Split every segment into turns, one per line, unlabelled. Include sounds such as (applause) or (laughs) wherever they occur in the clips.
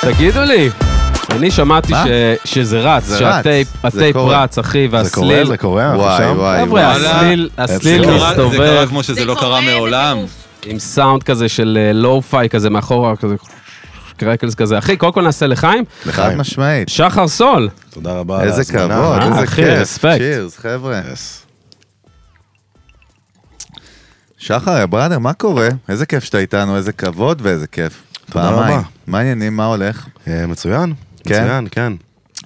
תגידו לי, אני שמעתי
מה?
ש- שזה רץ,
זה
שהטייפ
רץ,
הטייפ
קורה.
רץ, אחי,
זה קורה,
והסליל...
זה קורה, אנחנו וואי, שם. וואי,
חבר'ה,
וואי.
הסליל הסליל
זה
קרה- זה קרה
כאילו, מסתובב
כמו שזה
זה
לא
קורה,
קרה
זה
מעולם.
טירוף.
עם סאונד כזה של אה, לואו-פיי כזה מאחורה, כזה קרקלס כזה. אחי, קודם כל נעשה לחיים.
לחיים.
חד משמעית.
שחר סול,
תודה רבה. על
איזה
ההזמנה.
כבוד,
אה,
איזה
אחי,
כיף.
רספקט.
צ'ירס, חבר'ה.
Yes.
שחר, יא בראדר, מה קורה? איזה כיף שאתה איתנו, איזה כבוד ואיזה כיף.
תודה
פעמיים.
רבה.
מה העניינים, מה הולך?
אה, מצוין.
כן?
מצוין, כן.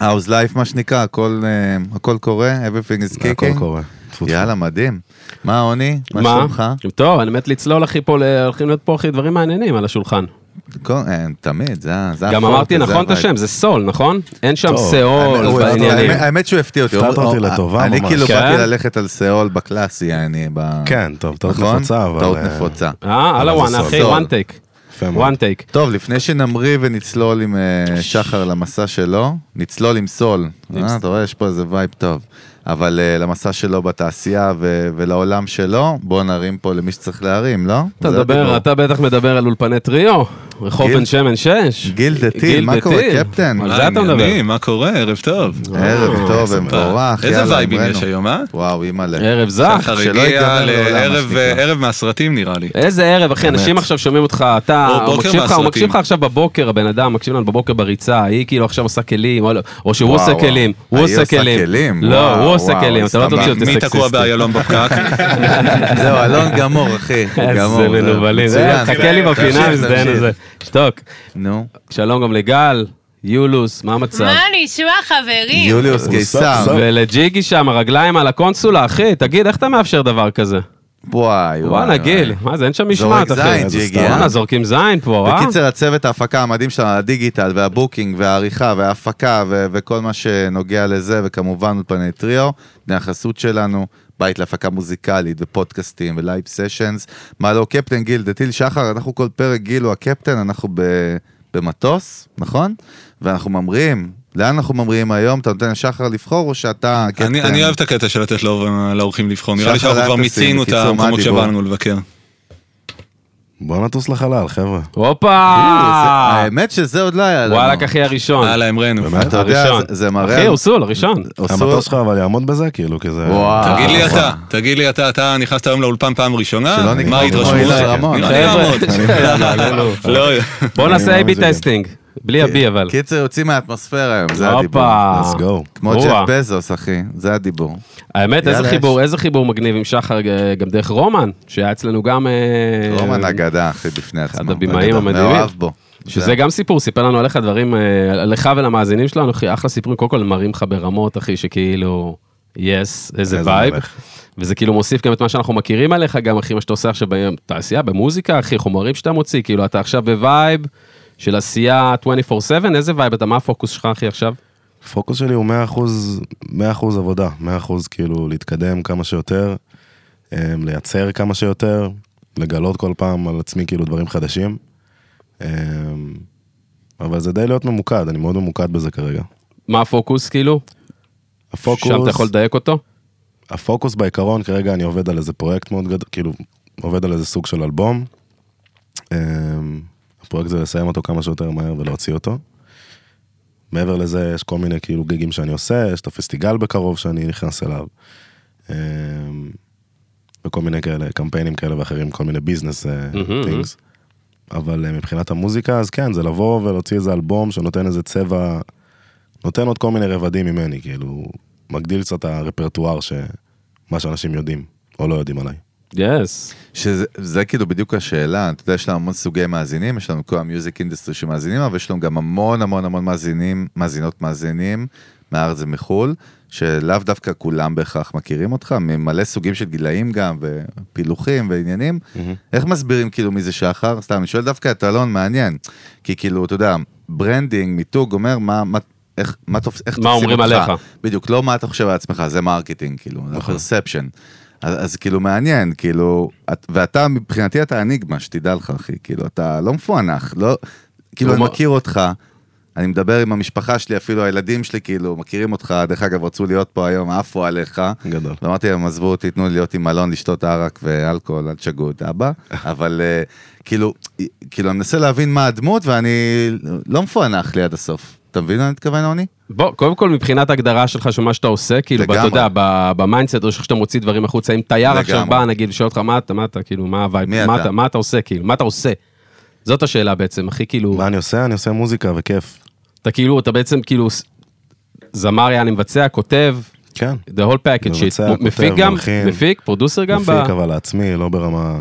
How's life, מה שנקרא, הכל, אה, הכל קורה, everything is
הכל
kicking.
קורה. טפו, טפו.
כן, יאללה, מדהים. מה עוני? מה
מה?
שלומך?
טוב, אני מת לצלול, אחי, פה, ל- הולכים להיות פה, אחי, דברים מעניינים על השולחן.
כל- אה, תמיד, זה ה... זה
גם
הפורט
אמרתי
הזה,
נכון את
אבל-
השם, זה סול, נכון? אין שם
טוב.
סאול
אה, הוא-
בעניינים.
האמת- האמת שהוא הפתיע אותי.
הפתעת
הוא-
אותי
הוא-
לטובה
אני
ממש.
כאילו
כן?
באתי ללכת על סאול בקלאסי, אני ב...
כן, טוב, טעות
נכון?
נפוצה, אבל...
טעות
אה,
נפוצה.
אה, על
אבל זה
הוואן,
סול.
אחי,
סול.
one take.
יפה מאוד.
one take.
טוב, לפני שנמריא ונצלול עם אה, שחר למסע שלו, נצלול עם סול. אה, אתה רואה, יש פה איזה וייב טוב. אבל אה, למסע שלו בתעשייה ו- ולעולם שלו, בוא נרים פה למי שצריך להרים, לא?
אתה
זה
מדבר,
הדיבור.
אתה בטח מדבר על אולפני טריו, רחוב
גיל-
בן שמן 6.
גיל דה טיל, מה קורה, קפטן?
על
מה
זה אתה מדבר.
העניינים? מה קורה? ערב טוב.
אה,
ערב טוב ומבורך,
איזה
יאללה,
וייבים
אמרנו.
יש היום, אה?
וואו, אימא'לה.
ערב זך.
שחר
שלא
הגיע
ייגמר לעולם, מה
לערב
שנקרא.
ערב מהסרטים נראה לי.
איזה ערב, אחי, אנשים עכשיו שומעים אותך, אתה,
או
הוא
בוקר
מקשיב לך, הוא
מהסרטים.
מקשיב לך עכשיו בבוקר, הבן אדם מקשיב לנו בבוקר בריצה, היא כאילו עכשיו עושה כלים, או לא, או שהוא
וואו,
עושה
וואו.
כלים, הוא
היא
עושה
עושה
כלים.
כלים,
לא,
וואו,
הוא עושה
וואו,
כלים, אתה לא
סתם
תוציא אותי
מי תקוע
סקסיסטי.
באיילון בפקק?
זהו, אלון גמור, אחי. גמור,
אה, איזה
זה
מנוולים,
מצוין.
חכה
כן,
לי
תמשיך,
בפינה, מזדיין
תמשיך.
הזה. שתוק.
נו,
שלום גם לגל, יולוס, מה המצב?
מה נשמע, חברים?
יוליוס קיסר.
סוף.
ולג'יגי שם, הרגליים על הקונסולה, אחי, תגיד, איך אתה מאפשר דבר כזה?
וואי,
וואלה, גיל, מה זה, אין שם משמעת, אחי.
זורק זין, ג'יגי,
וואלה,
אה?
זורקים זין פה, אה?
בקיצר, הצוות ההפקה המדהים שלנו, הדיגיטל והבוקינג והעריכה וההפקה ו- וכל מה שנוגע לזה, וכמובן אולפני טריו, בני החסות שלנו, בית להפקה מוזיקלית ופודקאסטים ולייב סשנס. מה לא, קפטן גיל, דתיל שחר, אנחנו כל פרק גיל הוא הקפטן, אנחנו ב- במטוס, נכון? ואנחנו ממריאים. לאן אנחנו ממריאים היום? אתה נותן לשחר לבחור או שאתה הקפטן?
אני אני אוהב את הקטע של לתת לאור- לאורחים לבחור, נראה לי
שחר
שאנחנו כבר
אנטסים,
מיצינו את
בקיצור, מה
המקומות
הדיבור?
שבאנו לבקר.
בוא נטוס לחלל, חבר'ה.
הופה!
כאילו, האמת שזה עוד לא היה לנו.
וואלכ, אחי, הראשון.
הלאה, אמרנו.
באמת?
אתה יודע,
הראשון.
זה- זה מראה...
אחי,
על-
הוא סול,
(laughs)
הראשון.
עשו-
המטוס שלך אבל יעמוד בזה, כאילו, כי זה...
וואו.
תגיד לי אתה, תגיד לי אתה, אתה נכנסת היום לאולפן פעם
שלא נגמר
ראשונה, מה
כמו
ההתרשמות?
אילן רמון.
נראה לי
חבר'ה.
לעמוד. לא,
בוא
אני
נעשה
מאמין
A-B
שזה גם.
טסטינג. בלי
כן,
ה-B אבל.
קיצר, יוצאים מהאטמוספירה היום, זה הדיבור.
הופה.
let's go.
כמו
וואו.
ג'ף בזוס, אחי, זה הדיבור.
האמת, איזה
יאללה,
חיבור, איזה חיבור מגניב עם שחר, אה, גם דרך רומן, שהיה אצלנו גם... אה,
רומן אגדה, אחי, בפני עצמו.
הבמאים
אגדה.
המדהימים.
מאוהב בו.
שזה
זה-
גם סיפור, סיפר לנו עליך דברים, אה, לך ולמאזינים שלנו, אחי, אחלה סיפורים, קודם כל מראים לך ברמות, אחי, שכאילו, יס, איזה
איזה
וייב.
מלך.
וזה כאילו מוסיף גם את מה שאנחנו מכירים עליך, גם אחי, מה שאתה עושה עכשיו בתעשייה, במוזיקה, אחי, חומרים שאתה מוציא, כאילו, אתה עכשיו בווייב של עשייה 24/7, איזה וייב אתה, מה הפוקוס שלך, אחי, עכשיו?
הפוקוס שלי הוא 100 אחוז, 100 אחוז עבודה, 100 אחוז כאילו להתקדם כמה שיותר, אמ, לייצר כמה שיותר, לגלות כל פעם על עצמי כאילו דברים חדשים. אמ, אבל זה די להיות ממוקד, אני מאוד ממוקד בזה כרגע.
מה הפוקוס, כאילו?
הפוקוס,
שם אתה יכול לדייק אותו?
הפוקוס בעיקרון כרגע אני עובד על איזה פרויקט מאוד גדול, כאילו עובד על איזה סוג של אלבום. אמ, הפרויקט זה לסיים אותו כמה שיותר מהר ולהוציא אותו. מעבר לזה יש כל מיני כאילו גיגים שאני עושה, יש את הפסטיגל בקרוב שאני נכנס אליו. אמ, וכל מיני כאלה, קמפיינים כאלה ואחרים, כל מיני ביזנס
מהמם,
טינגס. אבל אה, מבחינת המוזיקה אז כן, זה לבוא ולהוציא איזה אלבום שנותן איזה צבע, נותן עוד כל מיני רבדים ממני, כאילו, מגדיל קצת הרפרטואר ש... מה שאנשים יודעים, או לא יודעים עליי.
יס.
שזה- זה כאילו בדיוק השאלה, אתה יודע, יש לנו המון סוגי מאזינים, יש לנו כל המיוזיק אינדסטרי שמאזינים, אבל יש לנו גם המון המון המון מאזינים, מאזינות מאזינים, מהארץ ומחול, שלאו דווקא כולם בהכרח מכירים אותך, ממלא סוגים של גילאים גם, ופילוחים ועניינים.
Mm-hmm.
איך מסבירים כאילו מי זה שחר? סתם, אני שואל דווקא את אלון, מעניין. כי כאילו, אתה יודע, ברנדינג, מיתוג, אומר מה... מה איך, מה, תופס, איך
מה
תופסים
אומרים
אותך.
עליך. נכון.
בדיוק, לא מה אתה חושב על עצמך, זה מרקטינג, כאילו, זה פרספשן. אז, אז כאילו מעניין, כאילו, את, ואתה מבחינתי אתה אניגמה, שתדע לך, אחי, כאילו, אתה לא מפוענח, לא, כאילו,
הוא
אני
מ-
מכיר אותך, אני מדבר עם המשפחה שלי, אפילו הילדים שלי, כאילו, מכירים אותך, דרך אגב, רצו להיות פה היום, עפו עליך.
גדול.
ואמרתי להם, עזבו אותי, תנו לי להיות עם אלון, לשתות ערק ואלכוהול, אל תשגעו
(laughs)
את אבא. אבל אה, כאילו, כאילו, אני מנסה להבין מה הדמות, ואני לא מפוענח לי עד הסוף. אתה מבין מה אני מתכוון, עוני?
בוא, קודם כל מבחינת ההגדרה שלך של מה שאתה עושה, כאילו,
לגמרי.
אתה יודע, ב- במיינדסט, או שאתה מוציא דברים החוצה, אם תייר
לגמרי.
עכשיו בא, נגיד, ושואל אותך, מה אתה, מה אתה, כאילו, מה הווייב,
מי
מה
אתה?
אתה, מה אתה עושה, כאילו, מה אתה עושה? זאת השאלה בעצם, הכי כאילו,
מה אני עושה? אני עושה מוזיקה וכיף.
אתה כאילו, אתה בעצם כאילו, ס- זמר יעני מבצע, כותב,
כן.
the whole package,
מבצע,
shit.
כותב,
מפיק גם,
מלחין.
מפיק, פרודוסר גם, ב-
מפיק אבל לעצמי, לא ברמה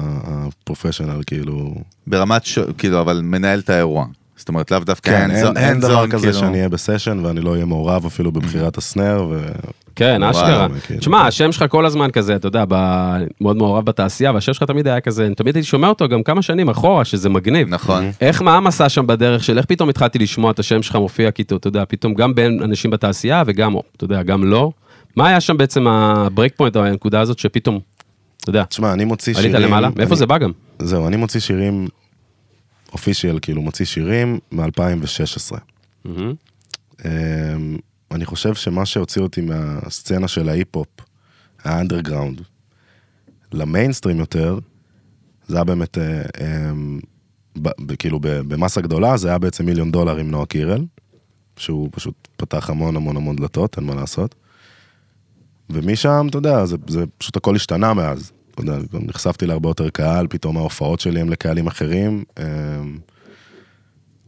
הפרופשיונל, כאילו...
ברמת, ש... כאילו, אבל מנהל את האירוע. זאת אומרת, לאו דווקא
כן, אין,
hands-on-
אין דבר
hands-on,
כזה
כאילו.
שאני אהיה בסשן ואני לא אהיה מעורב אפילו בבחירת הסנר, ו...
כן,
וואו,
אשכרה.
כאילו.
תשמע, השם שלך כל הזמן כזה, אתה יודע, ב- מאוד מעורב בתעשייה, והשם שלך תמיד היה כזה, אני תמיד הייתי שומע אותו גם כמה שנים אחורה, שזה מגניב.
נכון.
איך, מה המסע שם בדרך של איך פתאום התחלתי לשמוע את השם שלך מופיע, כאילו, אתה יודע, פתאום גם בין אנשים בתעשייה וגם, אתה יודע, גם לא. מה היה שם בעצם הברייק פוינט, הנקודה הזאת שפתאום, אתה יודע,
תשמע, אני מוציא
עלית
שירים...
למעלה? מאיפה
אני-
זה בא גם?
זהו, אני מוציא שירים, אופישיאל, כאילו, מוציא שירים מ-2016.
מהמם.
אמ, אני חושב שמה שהוציא אותי מהסצנה של ההיפ-הופ, האנדרגראונד, למיינסטרים יותר, זה היה באמת, אה, אמ, ב- ב- כאילו ב- במסה גדולה, זה היה בעצם מיליון דולר עם נועה קירל, שהוא פשוט פתח המון המון המון דלתות, אין מה לעשות. ומשם, אתה יודע, זה, זה פשוט הכל השתנה מאז. אתה יודע, גם נחשפתי להרבה יותר קהל, פתאום ההופעות שלי הם לקהלים אחרים. אמ,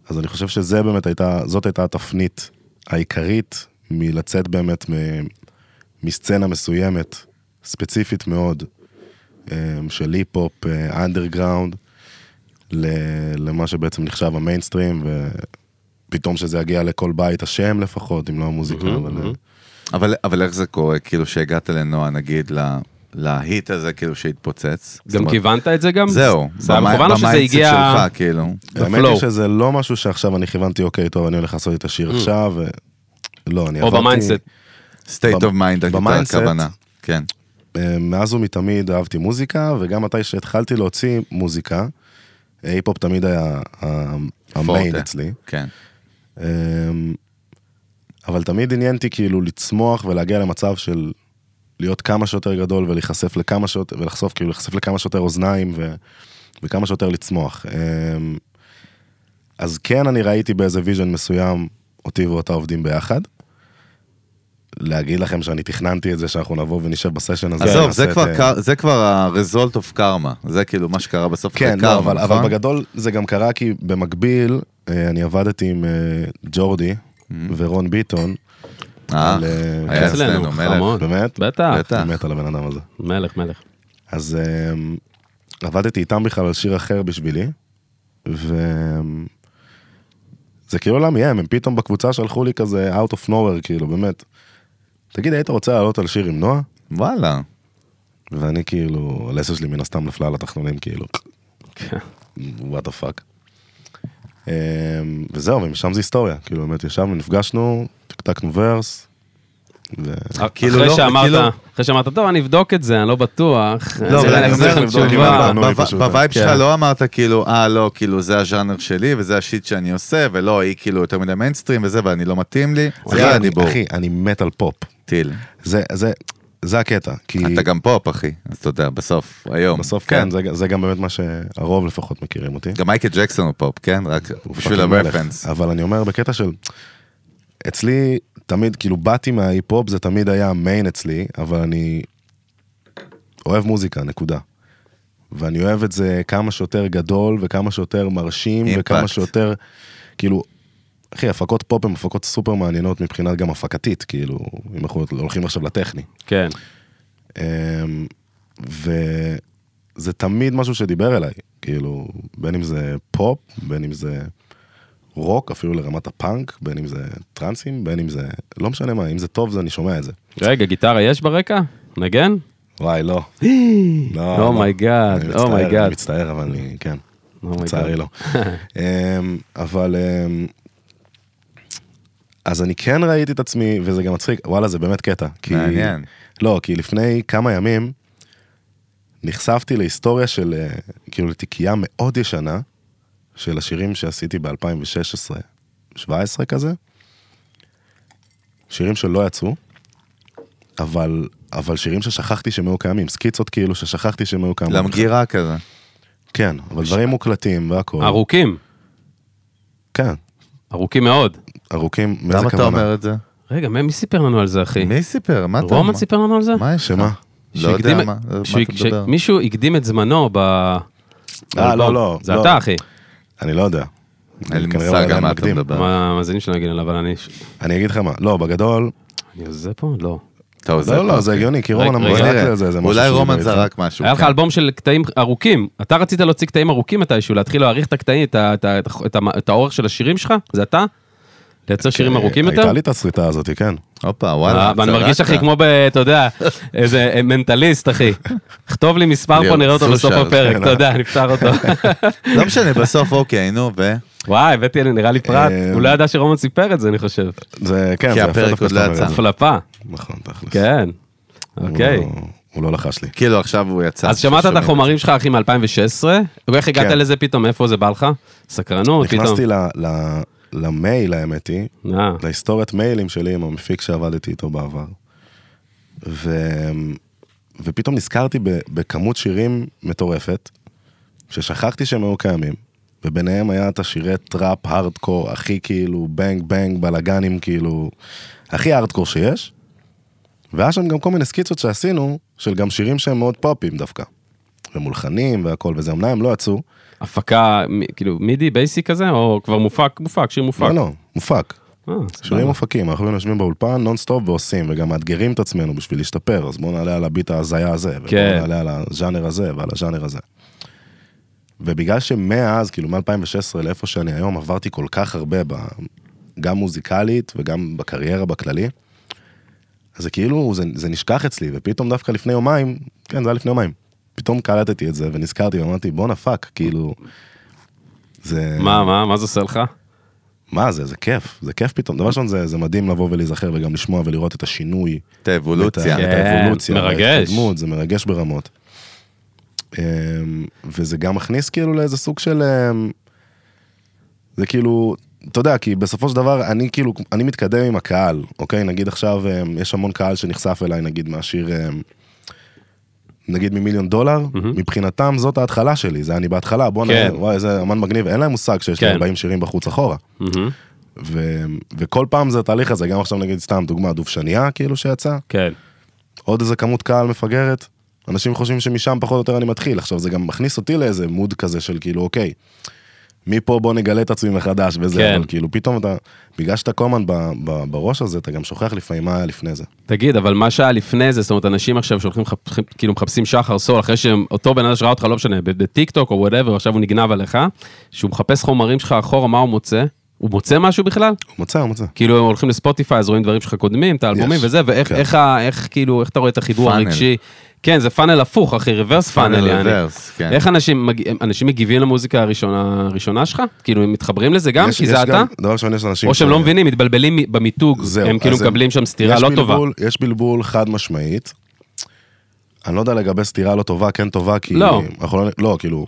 אז אני חושב שזה באמת הייתה, זאת הייתה התפנית העיקרית מלצאת באמת מ, מסצנה מסוימת, ספציפית מאוד, אמ, של היפ-הופ, אה, אנדרגראונד, ל- למה שבעצם נחשב המיינסטרים, ופתאום שזה יגיע לכל בית השם לפחות, אם לא המוזיקה, אבל... אה,
אבל, אבל איך זה קורה, כאילו, שהגעת לנועה, נגיד, ל... להיט הזה, כאילו, שהתפוצץ? זאת
גם
אומרת,
כיוון את זה גם?
זהו,
זה היה מכוון או שזה
במיינדסט
הגיע...
שלך, כאילו.
האמת
flow.
היא שזה לא משהו שעכשיו אני כיוונתי, אוקיי, טוב, אני הולך לעשות את השיר עכשיו, ו... לא, אני
או
עברתי...
במיינדסט.
state of mind, הייתה
במיינדסט.
הכוונה. כן.
אה, מאז ומתמיד אהבתי מוזיקה, וגם מתי שהתחלתי להוציא מוזיקה, אה, היפ-הופ תמיד היה ה- המיין
פורטה.
אצלי.
כן.
אה, אבל תמיד עניינתי כאילו לצמוח ולהגיע למצב של להיות כמה שיותר גדול ולהיחשף לכמה שיותר, ולחשוף כאילו להיחשף לכמה שיותר אוזניים ו, וכמה שיותר לצמוח. אה, אז כן, אני ראיתי באיזה ויז'ן מסוים אותי ואותה עובדים ביחד. להגיד לכם שאני תכננתי את זה שאנחנו נבוא ונשב בסשן הזה.
עזוב,
ונעשה
זה
את,
כבר
אה,
קר- זה כבר ה-result of karma. זה כאילו מה שקרה בסוף.
כן,
אחרי
לא,
karma,
אבל,
נכון?
אבל בגדול זה גם קרה כי במקביל אה, אני עבדתי עם אה, ג'ורדי
Mm-hmm.
ורון ביטון.
אה,
על, אה,
היה
כן,
אצלנו,
אצלנו, מלך.
חמוד.
באמת?
בטח,
נכון. בטח.
אני מת על הבן אדם הזה.
מלך, מלך.
אז אמ, עבדתי איתם בכלל על שיר אחר בשבילי, וזה כאילו לא מהם, הם פתאום בקבוצה שלחו לי כזה out of nowhere, כאילו, באמת. תגיד, היית רוצה לעלות על שיר עם נועה?
וואלה.
ואני כאילו, הלסת שלי מן הסתם נפלה על התחנונים, כאילו,
כן.
וואט דה פאק. אמ, וזהו, ומשם זה היסטוריה, כאילו באמת ישבנו, נפגשנו, טקטקנו ורס. ו-
כאילו
אה, אחרי
לא-
שאמרת,
כאילו-
אחרי שאמרת, טוב, אני אבדוק את זה, אני לא בטוח.
לא, אבל אני
אחזיר
אומר,
לכם
לבדוק,
אני
תשובה.
לבדוק.
אומר,
בנוי
ב-
פשוט,
בווייב שלך
כן.
לא אמרת כאילו, אה, לא, כאילו זה הז'אנר שלי וזה השיט שאני עושה, ולא, היא כאילו יותר מדי מיינסטרים וזה, ואני לא מתאים לי. זה
אחי,
היה
אני-
הדיבור.
אחי, אני מת על פופ.
טיל.
זה, זה, זה הקטע. כי
אתה גם פופ, אחי. אז אתה יודע, בסוף, היום.
בסוף כן, זה, זה גם באמת מה שהרוב לפחות מכירים אותי.
גם מייקל ג'קסון הוא פופ, כן? רק
הוא
בשביל
פאקינג מלך.
הרפרנס.
אבל אני אומר בקטע של... אצלי, תמיד, כאילו, באתי מההיפ-הופ, זה תמיד היה המיין אצלי, אבל אני אוהב מוזיקה, נקודה. ואני אוהב את זה כמה שיותר גדול, וכמה שיותר מרשים,
Impact.
וכמה שיותר, כאילו, אחי, הפקות פופ הן הפקות סופר מעניינות מבחינת גם הפקתית, כאילו, אם אנחנו הולכים עכשיו לטכני.
כן.
אמ, וזה תמיד משהו שדיבר אליי, כאילו, בין אם זה פופ, בין אם זה רוק, אפילו לרמת הפאנק, בין אם זה טרנסים, בין אם זה, לא משנה מה, אם זה טוב, זה אני שומע את זה.
רגע, גיטרה יש ברקע? Oh נגן?
וואי, (gasps) לא.
אה,
לא, לא.
אומייגאד,
אני מצטער,
אומייגאד.
אני מצטער, אבל אני, כן,
אומייגאד.
לצערי לא. אמ, אבל, אמ, אז אני כן ראיתי את עצמי, וזה גם מצחיק, וואלה, זה באמת קטע. כי-
מעניין.
לא, כי לפני כמה ימים נחשפתי להיסטוריה של, אה, כאילו, לתיקייה מאוד ישנה של השירים שעשיתי ב-2016, 17 כזה. שירים שלא יצאו, אבל, אבל שירים ששכחתי שהם היו קיימים, סקיצות כאילו ששכחתי שהם היו קיימים.
למגירה כזה.
כן, אבל דברים מוקלטים והכל.
ארוכים,
כן,
ארוכים מאוד.
ארוכים, מאיזה
למה אתה
כוונה?
אומר את זה?
רגע, מי מי סיפר לנו על זה, אחי?
מי סיפר? מה אתה אומר?
רומן סיפר לנו על זה?
מה יש לך?
שמה?
לא יודע
שהקדים-
מה, מה אתה
שהק-
מדבר.
שמישהו הקדים את זמנו ב...
אה, לא,
באלבום.
לא.
זה
לא.
אתה, אחי.
אני לא יודע.
אין לי
כנראה
מושג על
עדיין
מה אתה
מקדים.
מדבר.
מה המאזינים שלנו יגידו, אבל אני...
אני אגיד לך מה, לא, בגדול,
אני עוזב פה? לא.
אתה אוקיי. עוזר
לא,
פה?
לא, זה הגיוני, כי
רגע,
רומן
רגע.
אמר זרק לי
בוא נראה.
על זה, זה משהו
אולי
שהוא
רומן
בעצם-
זרק משהו.
היה לך
כן.
אלבום של קטעים ארוכים. אתה רצית להוציא קטעים ארוכים מתישהו, להתחיל להעריך את הקטעים, את ה- את ה- את ה- את ה- את האורך של השירים שלך? זה אתה? לייצר
אוקיי,
שירים ארוכים יותר?
אה, הייתה לי את הסריטה הזאת, כן.
הופה,
אה,
וואלה,
ואני
זרקת.
מרגיש, אחי, כמו ב... אתה יודע, איזה אה, מנטליסט, אחי. כתוב לי מספר פה,
ליאור
נראה אותו בסוף
סושר,
הפרק,
כן,
אתה יודע, נפטר אותו.
(laughs)
לא משנה, בסוף אוקיי, נו, ו...
וואי, הבאתי, נראה לי פרט.
אה,
הוא לא ידע שרומן סיפר את זה, אני חושב.
זה, כן,
כי
זה יפה
הפרק
דווקא
עוד לא
שאתה אומר
יצא.
את זה.
הפלפה,
נכון, תכלס.
כן.
הוא
אוקיי.
לא- הוא לא לחש לי.
כאילו עכשיו הוא יצא.
אז שמעת את
ששומעים
החומרים שלך, אחי, מ-2016? ואיך הגעת
כן.
לזה פתאום? איפה זה בא לך? סקרנות, פתאום.
נכנסתי ל- ל- למייל, האמת היא,
אה,
להיסטוריית מיילים שלי עם המפיק שעבדתי איתו בעבר. ו... ופתאום נזכרתי ב... בכמות שירים מטורפת, ששכחתי שהם היו קיימים, וביניהם היה את השירי טראפ הארדקור הכי כאילו בנג בנג בלאגנים כאילו, הכי הארדקור שיש, והיה שם גם כל מיני סקיצות שעשינו, של גם שירים שהם מאוד פופים דווקא, ומולחנים והכל וזה, אמנם הם לא יצאו,
הפקה, מ- כאילו, מידי, בייסי כזה, או כבר מופק, מופק, שיר מופק.
לא לא, מופק.
אה,
שירים
סבבה.
מופקים, אנחנו יושבים באולפן נונסטופ ועושים, וגם מאתגרים את עצמנו בשביל להשתפר, אז בואו נעלה על הביט ההזיה הזה,
כן.
ובואו נעלה על הז'אנר הזה ועל הז'אנר הזה. ובגלל שמאז, כאילו מ-2016 לאיפה שאני היום, עברתי כל כך הרבה, ב... גם מוזיקלית וגם בקריירה בכללי, אז זה כאילו, זה, זה נשכח אצלי, ופתאום דווקא לפני יומיים, כן, זה היה לפני יומיים, פתאום קלטתי את זה ונזכרתי ואמרתי, בואנה פאק, כאילו, זה...
מה, מה, מה זה עושה לך?
מה זה, זה כיף, זה כיף פתאום. דבר ראשון, זה, זה מדהים לבוא ולהיזכר וגם לשמוע ולראות את השינוי.
את האבולוציה.
את ה- את
כן,
האבולוציה.
מרגש.
וההתקדמות, זה מרגש ברמות. אמ, וזה גם מכניס כאילו לאיזה סוג של... אמ, זה כאילו, אתה יודע, כי בסופו של דבר אני כאילו, אני מתקדם עם הקהל, אוקיי? נגיד עכשיו אמ, יש המון קהל שנחשף אליי, נגיד מהשיר... אמ, נגיד ממיליון דולר, מבחינתם זאת ההתחלה שלי, זה אני בהתחלה, בואנה,
כן.
וואי איזה אמן מגניב, אין להם מושג שיש
כן.
לי 40 שירים בחוץ אחורה.
מהמם.
ו, וכל פעם זה התהליך הזה, גם עכשיו נגיד סתם דוגמה, דובשניה כאילו שיצא,
כן.
עוד איזה כמות קהל מפגרת, אנשים חושבים שמשם פחות או יותר אני מתחיל, עכשיו זה גם מכניס אותי לאיזה מוד כזה של כאילו אוקיי, מפה בוא נגלה את עצמי מחדש וזה,
כן.
אבל כאילו פתאום אתה, בגלל שאתה כל הזמן ב- ב- בראש הזה, אתה גם שוכח לפעמים מה היה לפני זה.
תגיד, אבל מה שהיה לפני זה, זאת אומרת, אנשים עכשיו שהולכים, מחפשים- כאילו מחפשים שחר סול, אחרי שאותו בן אדם שראה אותך, לא משנה, ב- בטיק טוק או וואטאבר, עכשיו הוא נגנב עליך, שהוא מחפש חומרים שלך אחורה, מה הוא מוצא? הוא מוצא משהו בכלל?
הוא מוצא, הוא מוצא.
כאילו, הם הולכים לספוטיפיי, אז רואים דברים שלך קודמים, את האלבומים
יש,
וזה, ואיך
כן.
איך ה- איך, כאילו, איך אתה רואה את החיבור
פאנל.
הרגשי? כן, זה פאנל הפוך, אחי, ריברס
פאנל
פאנל, יעני.
ריברס, כן.
איך אנשים מג- אנשים מגיבים למוזיקה הראשונה הראשונה שלך? כאילו, הם מתחברים לזה גם?
יש-
כי
יש
זה אתה?
גם- דבר ראשון, יש אנשים...
או שהם
ש-
לא מבינים, מתבלבלים מ- במיתוג,
זהו,
הם כאילו
אז
מקבלים שם סתירה
יש
לא טובה.
בלבול, יש בלבול חד משמעית. אני לא יודע לגבי סתירה לא טובה, כן טובה, כי...
לא.
אנחנו לא, לא, כאילו,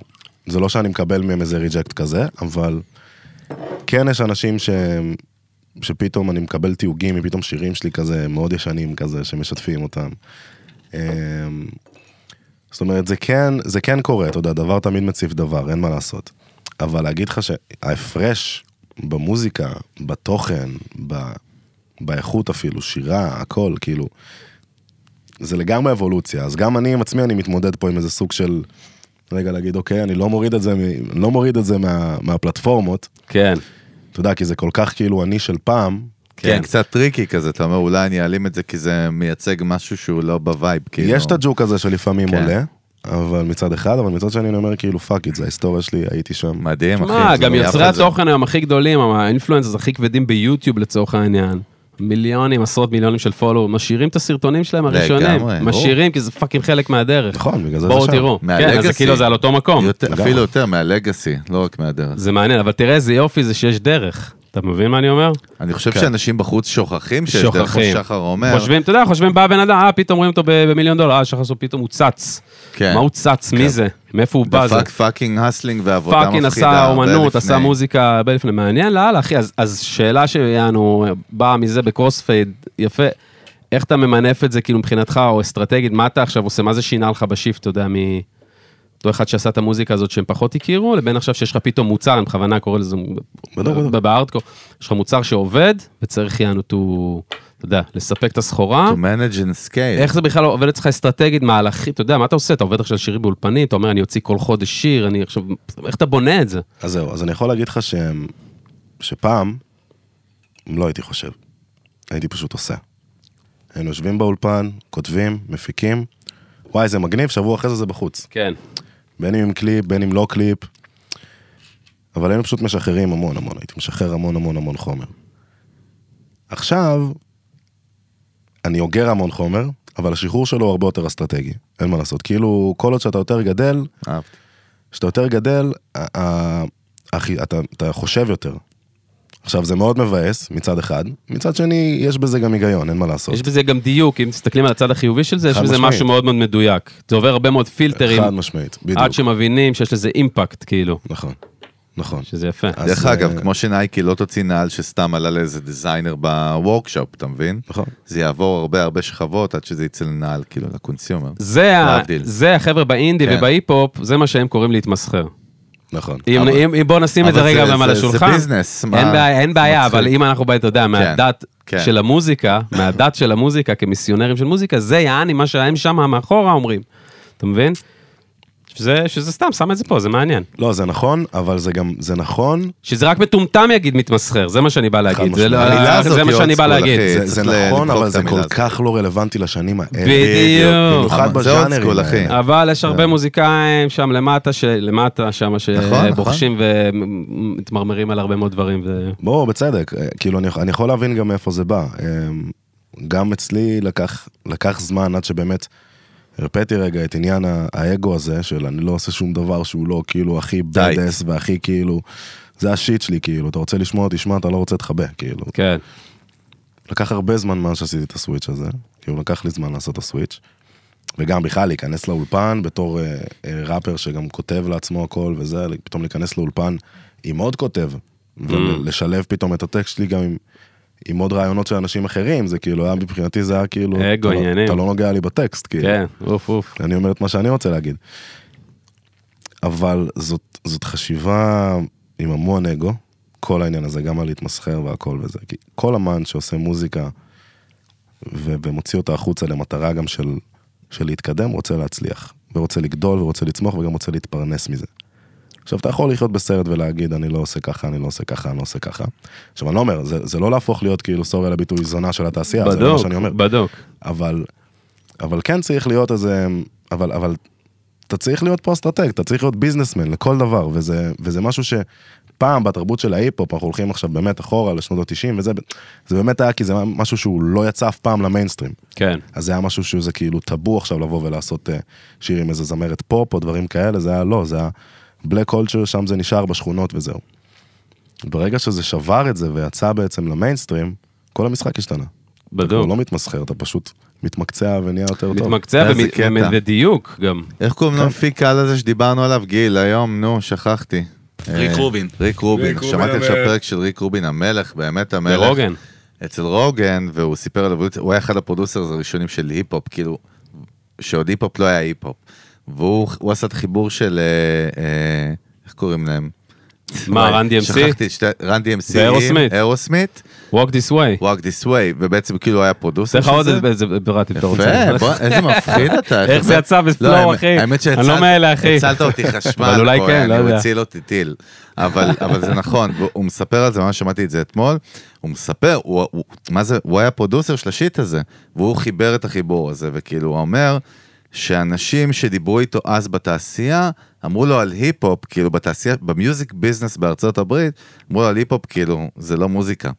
זה לא שאני מקבל מהם איזה ריג'קט כזה, אבל כן יש אנשים שהם... שפתאום אני מקבל תיוגים מפתאום שירים שלי כזה מאוד ישנים כזה שמשתפים אותם. אמ, זאת אומרת זה כן זה כן קורה אתה יודע דבר תמיד מציף דבר אין מה לעשות. אבל להגיד לך שההפרש במוזיקה בתוכן ב, באיכות אפילו שירה הכל כאילו זה לגמרי אבולוציה אז גם אני עם עצמי אני מתמודד פה עם איזה סוג של רגע להגיד אוקיי אני לא מוריד את זה מ- לא מוריד את זה מה, מהפלטפורמות
כן.
אתה יודע כי זה כל כך כאילו אני של פעם
כן, קצת טריקי כזה, אתה אומר, אולי אני אעלים את זה כי זה מייצג משהו שהוא לא בווייב, כאילו.
יש את הג'וק הזה שלפעמים
כן.
עולה, אבל מצד אחד, אבל מצד שני אני אומר כאילו פאק איט, זה ההיסטוריה שלי, הייתי שם.
מדהים, אחי.
מה,
זה
גם
לא יפה,
יוצרי
זה-
התוכן היום הכי גדולים, האינפלואנסס הכי כבדים ביוטיוב לצורך העניין. מיליונים, עשרות מיליונים של פולו, משאירים את הסרטונים שלהם הראשונים.
לגמרי, ברור.
משאירים כי זה פאקינג חלק מהדרך.
נכון, בגלל זה זה
בואו
שם.
תראו. כן, אז זה
מהלגאסי.
כאילו זה על אותו מקום.
יותר- אפילו יותר מהלגאסי, לא רק מהדרך.
זה מעניין, אבל תראה איזה יופי זה שיש דרך. אתה מבין מה אני אומר?
אני חושב
כן.
שאנשים בחוץ שוכחים שיש דרך כמו
שוכחים.
שחר אומר.
חושבים, אתה יודע, חושבים, בא בן אדם, אה, פתאום רואים אותו ב- במיליון דולר, אה, שחר סוף פתאום הוא צץ.
כן.
מה הוא צץ?
כן.
מי זה? מאיפה הוא בא? זה
דפק פאקינג הסלינג ועבודה מפחידה.
פאקינג עשה
אה, הרבה
אומנות,
לפני.
עשה מוזיקה, הרבה לפני, מעניין לאללה, אחי, אז- אז שאלה שיענו, באה מזה בקרוספייד, יפה, איך אתה ממנף את זה, כאילו, מבחינתך, או אסטרטגית, מה אתה עכשיו עושה, מה זה שינה לך בשיפט, אתה יודע, מ... אותו אחד שעשה את המוזיקה הזאת שהם פחות הכירו, לבין עכשיו שיש לך פתאום מוצר, אני בכוונה קורא לזה
בטח, בטח.
ב- בארדקור, יש לך מוצר שעובד, וצריך יענו, to- אתה יודע, לספק את הסחורה.
To manage and scale.
איך זה בכלל עובד אצלך אסטרטגית, מהלכית, אתה יודע, מה אתה עושה? אתה עובד עכשיו על שירים באולפנית, אתה אומר, אני אוציא כל חודש שיר, אני עכשיו, איך אתה בונה את זה?
אז זהו, אז אני יכול להגיד לך שהם, שפעם, לא הייתי חושב, הייתי פשוט עושה. היינו יושבים באולפן, כותבים, מפיקים, וואי, זה מגניב, שבוע אחרי זה זה בחוץ.
כן.
בין אם עם קליפ, בין אם לא קליפ. אבל היינו פשוט משחררים המון המון, הייתי משחרר המון המון המון חומר. עכשיו, אני אוגר המון חומר, אבל השחרור שלו הוא הרבה יותר אסטרטגי, אין מה לעשות. כאילו, כל עוד שאתה יותר גדל,
אהבתי.
כשאתה יותר גדל, ה- ה- הכי- אתה, אתה חושב יותר. עכשיו, זה מאוד מבאס מצד אחד, מצד שני, יש בזה גם היגיון, אין מה לעשות.
יש בזה גם דיוק, אם מסתכלים על הצד החיובי של זה, יש
חד
בזה
משמעית.
משהו מאוד מאוד מדויק. זה עובר הרבה מאוד פילטרים,
חד משמעית, בדיוק.
עד שמבינים שיש לזה אימפקט, כאילו,
נכון, נכון.
שזה יפה.
אז-
דרך אגב,
אה,
כמו שנייקי לא תוציא נעל שסתם עלה לאיזה דיזיינר בוורקשופ, אתה מבין?
נכון.
זה יעבור הרבה הרבה שכבות עד שזה יצא לנעל, כאילו, לקונסיומר.
זה ה-
להבדיל.
זה החבר'ה באינדי
כן.
ובהיפ-הופ, זה מה שהם קוראים להתמסחר.
נכון.
אם-
אבל-
אם אם- בוא נשים את
אבל
זה רגע
זה-
גם על
זה- זה
השולחן.
ביזנס, מה-
אין בעיה, אין בעיה,
מצחיק.
אבל אם אנחנו באים, אתה יודע, מהדת
כן.
של המוזיקה, מהדת של המוזיקה, כמיסיונרים של מוזיקה, זה יעני מה שהם שם מאחורה אומרים. אתה מבין? שזה שזה סתם, שם את זה פה, זה מעניין.
לא, זה נכון, אבל זה גם, זה נכון,
שזה רק מטומטם יגיד מתמסחר, זה מה שאני בא להגיד. זה, לא,
משמעית.
המילה הזאת
זה מה
היא
שאני
old
בא
school,
להגיד.
אחי.
זה,
צריך
זה
ל-
נכון,
למחוק
אבל
את
זה
המילה
כל
הזאת.
כך לא רלוונטי לשנים האלה.
בדיוק.
במיוחד
אבל זה old
בז'אנרים
school,
האלה.
אחי.
אבל יש הרבה מוזיקאים שם למטה, ש- למטה שם,
כן. נכון,
שבוחשים ומתמרמרים על הרבה מאוד דברים. ו-
ברור, בצדק. אה, כאילו, אני, אני יכול להבין גם מאיפה זה בא. אמ, גם אצלי לקח, לקח זמן עד שבאמת הרפאתי רגע את עניין ה- האגו הזה, של אני לא עושה שום דבר שהוא לא כאילו הכי
Tight.
בדס והכי כאילו... זה השיט שלי, כאילו, אתה רוצה לשמוע, תשמע, אתה לא רוצה, תכבה, כאילו.
כן.
לקח הרבה זמן מאז שעשיתי את הסוויץ' הזה, כאילו לקח לי זמן לעשות את הסוויץ'. וגם בכלל להיכנס לאולפן בתור אה, אה, ראפר שגם כותב לעצמו הכל וזה, פתאום להיכנס לאולפן עם עוד כותב,
Mm.
ולשלב פתאום את הטקסט שלי גם עם, עם עוד רעיונות של אנשים אחרים, זה כאילו היה מבחינתי זה היה כאילו,
אגו,
אתה, לא,
עניינים.
אתה לא נוגע לי בטקסט, כאילו.
כן, אוף אוף.
אני אומר את מה שאני רוצה להגיד. אבל זאת, זאת חשיבה עם המון אגו, כל העניין הזה, גם על להתמסחר והכל וזה. כי כל אמן שעושה מוזיקה ו- ומוציא אותה החוצה למטרה גם של, של להתקדם, רוצה להצליח. ורוצה לגדול ורוצה לצמוח וגם רוצה להתפרנס מזה. עכשיו, אתה יכול לחיות בסרט ולהגיד, אני לא עושה ככה, אני לא עושה ככה, אני לא עושה ככה. עכשיו, אני לא אומר, זה, זה לא להפוך להיות כאילו, סורי על הביטוי, זונה של
כן,
התעשייה, זה לא מה
בדוק,
שאני אומר.
בדוק.
אבל, אבל כן צריך להיות איזה, אבל, אבל אתה צריך להיות פה אסטרטג, אתה צריך להיות ביזנסמן לכל דבר, וזה, וזה משהו שפעם בתרבות של ההיפ-הופ, אנחנו הולכים עכשיו באמת אחורה לשנות ה-90, וזה זה באמת היה כי זה משהו שהוא לא יצא אף פעם למיינסטרים.
כן.
אז זה היה משהו שזה כאילו טאבו עכשיו לבוא ולעשות אה, שיר עם איזה זמרת פופ או דברים כאלה, זה היה לא, זה היה בלק קולצ'ר, שם זה נשאר בשכונות וזהו. ברגע שזה שבר את זה ויצא בעצם למיינסטרים, כל המשחק השתנה. אתה
בדוק.
כבר לא מתמסחר, אתה פשוט מתמקצע ונהיה יותר טוב.
מתמקצע
איזה
במ-
קטע.
במ- בדיוק גם.
איך קוראים למפיק על הזה שדיברנו עליו? גיל, היום, נו, שכחתי.
ריק
אה,
רובין.
ריק רובין.
ריק רובין
שמעתי עכשיו
המלך.
פרק של ריק רובין המלך, באמת המלך.
ברוגן.
אצל רוגן, והוא סיפר עליו, הוא היה אחד הפרודוסרס הראשונים של היפ-הופ, כאילו, שעוד היפ-הופ לא היה היפ-הופ. והוא הוא עשה את החיבור של, אה, אה, איך קוראים להם?
מה,
וואי,
רן DMC?
שכחתי, שתי- רן DMC.
ואירוסמית.
אירוסמית,
Walk this way.
Walk This Way, ובעצם כאילו הוא היה פרודוסר
עושה לך עוד איזה- איזה ברירת אם אתה רוצה.
יפה, בוא, איזה מפחיד
(laughs)
אתה.
איך זה יצא בפלואו,
לא, האמת-
אחי?
האמת
אני לא מאלה, אחי.
שהצלת אותי חשמל,
אבל אולי
פה,
כן, לא
אני
יודע.
הציל אותי טיל. אבל אבל זה נכון, הוא מספר על זה, ממש שמעתי את זה אתמול. הוא מספר, הוא- הוא- מה זה, הוא היה פרודוסר של השיט הזה, והוא חיבר את החיבור הזה, וכאילו הוא אומר שאנשים שדיברו איתו אז בתעשייה, אמרו לו על היפ-הופ, כאילו בתעשייה, במיוזיק ביזנס בארצות הברית, אמרו לו על היפ-הופ, כאילו, זה לא מוזיקה.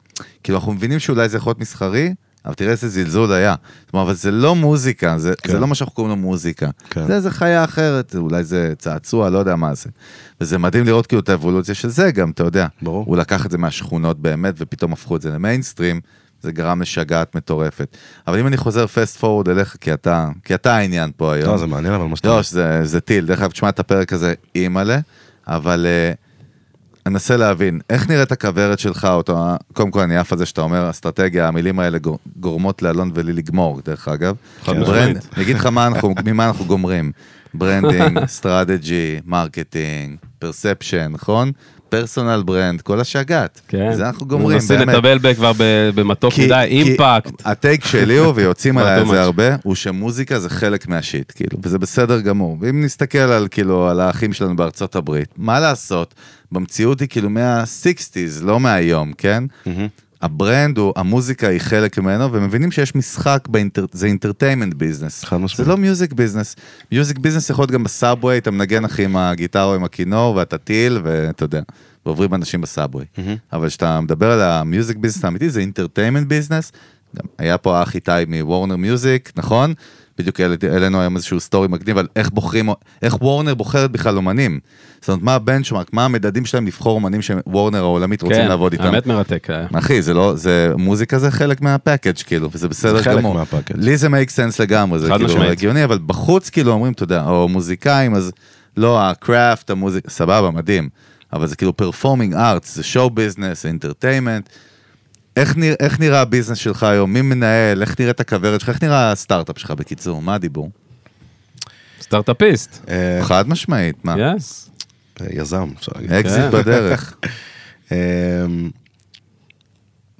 כאילו, אנחנו מבינים שאולי זה יכול להיות מסחרי, אבל תראה איזה זלזול היה. כלומר, אבל זה לא מוזיקה, זה,
כן.
זה לא מה שאנחנו קוראים לו מוזיקה.
כן.
זה איזה חיה אחרת, אולי זה צעצוע, לא יודע מה זה. וזה מדהים לראות כאילו את האבולוציה של זה גם, אתה יודע.
ברור.
הוא לקח את זה מהשכונות באמת, ופתאום הפכו את זה למיינסטרים, זה גרם לשגעת מטורפת. אבל אם אני חוזר fast forward אליך, כי אתה, כי אתה העניין פה היום.
לא, זה מעניין אבל מה שאתה...
לא, שזה זה טיל, דרך אגב, תשמע את הפרק הזה, אימא'לה, אבל אה, אני מנסה להבין, איך נראית הכוורת שלך, אותו, אה, קודם כל אני עף על זה שאתה אומר, אסטרטגיה, המילים האלה גור- גורמות לאלון ולי לגמור, דרך אגב.
חד
ברנד-
משמעית.
אני אגיד לך מה אנחנו- (laughs) ממה אנחנו גומרים, ברנדינג, סטרטג'י, מרקטינג, פרספשן, נכון? פרסונל ברנד, כל השגת.
כן.
זה אנחנו גומרים,
מנסים
באמת.
לטבל ב- כבר ב- במתוק
כי-
מדי,
כי
אימפקט.
הטייק שלי הוא, ויוצאים
כבר
עליי על
too much.
זה הרבה, הוא שמוזיקה זה חלק מהשיט, כאילו, וזה בסדר גמור. ואם נסתכל על, כאילו, על האחים שלנו בארצות הברית, מה לעשות? במציאות היא כאילו מה-60's, לא מהיום, כן? הברנד הוא, המוזיקה היא חלק ממנו, ומבינים שיש משחק, באינטר, זה אינטרטיימנט ביזנס.
חד משמעית.
זה לא מיוזיק ביזנס. מיוזיק ביזנס יכול להיות גם בסאבווי, אתה מנגן אחי עם הגיטרה או עם הכינור, ואתה טיל, ואתה יודע, ועוברים אנשים בסאבווי. אבל כשאתה מדבר על המיוזיק ביזנס האמיתי, זה אינטרטיימנט ביזנס. גם היה פה האח איתי מוורנר מיוזיק, נכון? בדיוק העליתי- העלינו היום איזשהו סטורי מקדים על איך בוחרים, איך וורנר בוחרת בכלל אומנים. זאת אומרת, מה הבנצ'מארק, מה המדדים שלהם לבחור אומנים שוורנר העולמית רוצים
כן,
לעבוד איתם.
האמת מרתק. אה. היה.
אחי, זה לא, זה, מוזיקה זה חלק מהפאקג' כאילו, וזה בסדר
חלק
גמור.
מהפאקג'.
לי זה מייק סנס לגמרי, זה
חד
כאילו
משמעית.
הגיוני, אבל בחוץ כאילו אומרים, אתה יודע, או מוזיקאים, אז לא, הקראפט, המוזיקה, סבבה, מדהים. אבל זה כאילו פרפורמינג ארטס, זה שואו ביזנס, זה אינטרטיימנט. איך, נרא, איך נראה הביזנס שלך היום? מי מנהל? איך נראית הכוורת שלך? איך נראה הסטארט-אפ שלך בקיצור? מה הדיבור?
סטארט-אפיסט.
אה,
חד משמעית, מה?
יס.
אה, יזם, אפשר להגיד.
אקזיט
כן. (laughs)
בדרך.
אמ,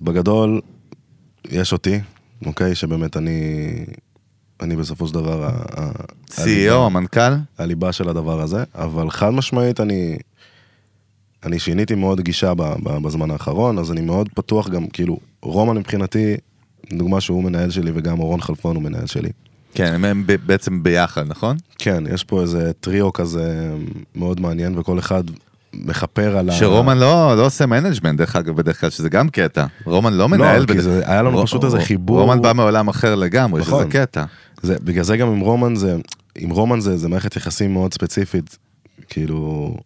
בגדול, יש אותי, אוקיי? שבאמת אני, אני בסופו של דבר ה- ה-
CEO, E המנכ"ל?
הליבה של הדבר הזה, אבל חד משמעית אני, אני שיניתי מאוד גישה ב, ב, בזמן האחרון, אז אני מאוד פתוח גם, כאילו, רומן מבחינתי, דוגמה שהוא מנהל שלי וגם אורון חלפון הוא מנהל שלי.
כן, הם- הם ב- בעצם ביחד, נכון?
כן, יש פה איזה טריו כזה מאוד מעניין וכל אחד מכפר על ה...
שרומן לא, לא עושה מנג'מנט, דרך אגב, בדרך כלל, שזה גם קטע. רומן לא מנהל.
כי
בד-
זה- היה לנו
רו-
פשוט איזה
רו-
חיבור.
רומן בא מעולם אחר לגמרי, שזה
נכון.
קטע.
זה, בגלל זה גם עם רומן זה, עם רומן זה, זה מערכת יחסים מאוד ספציפית, כאילו,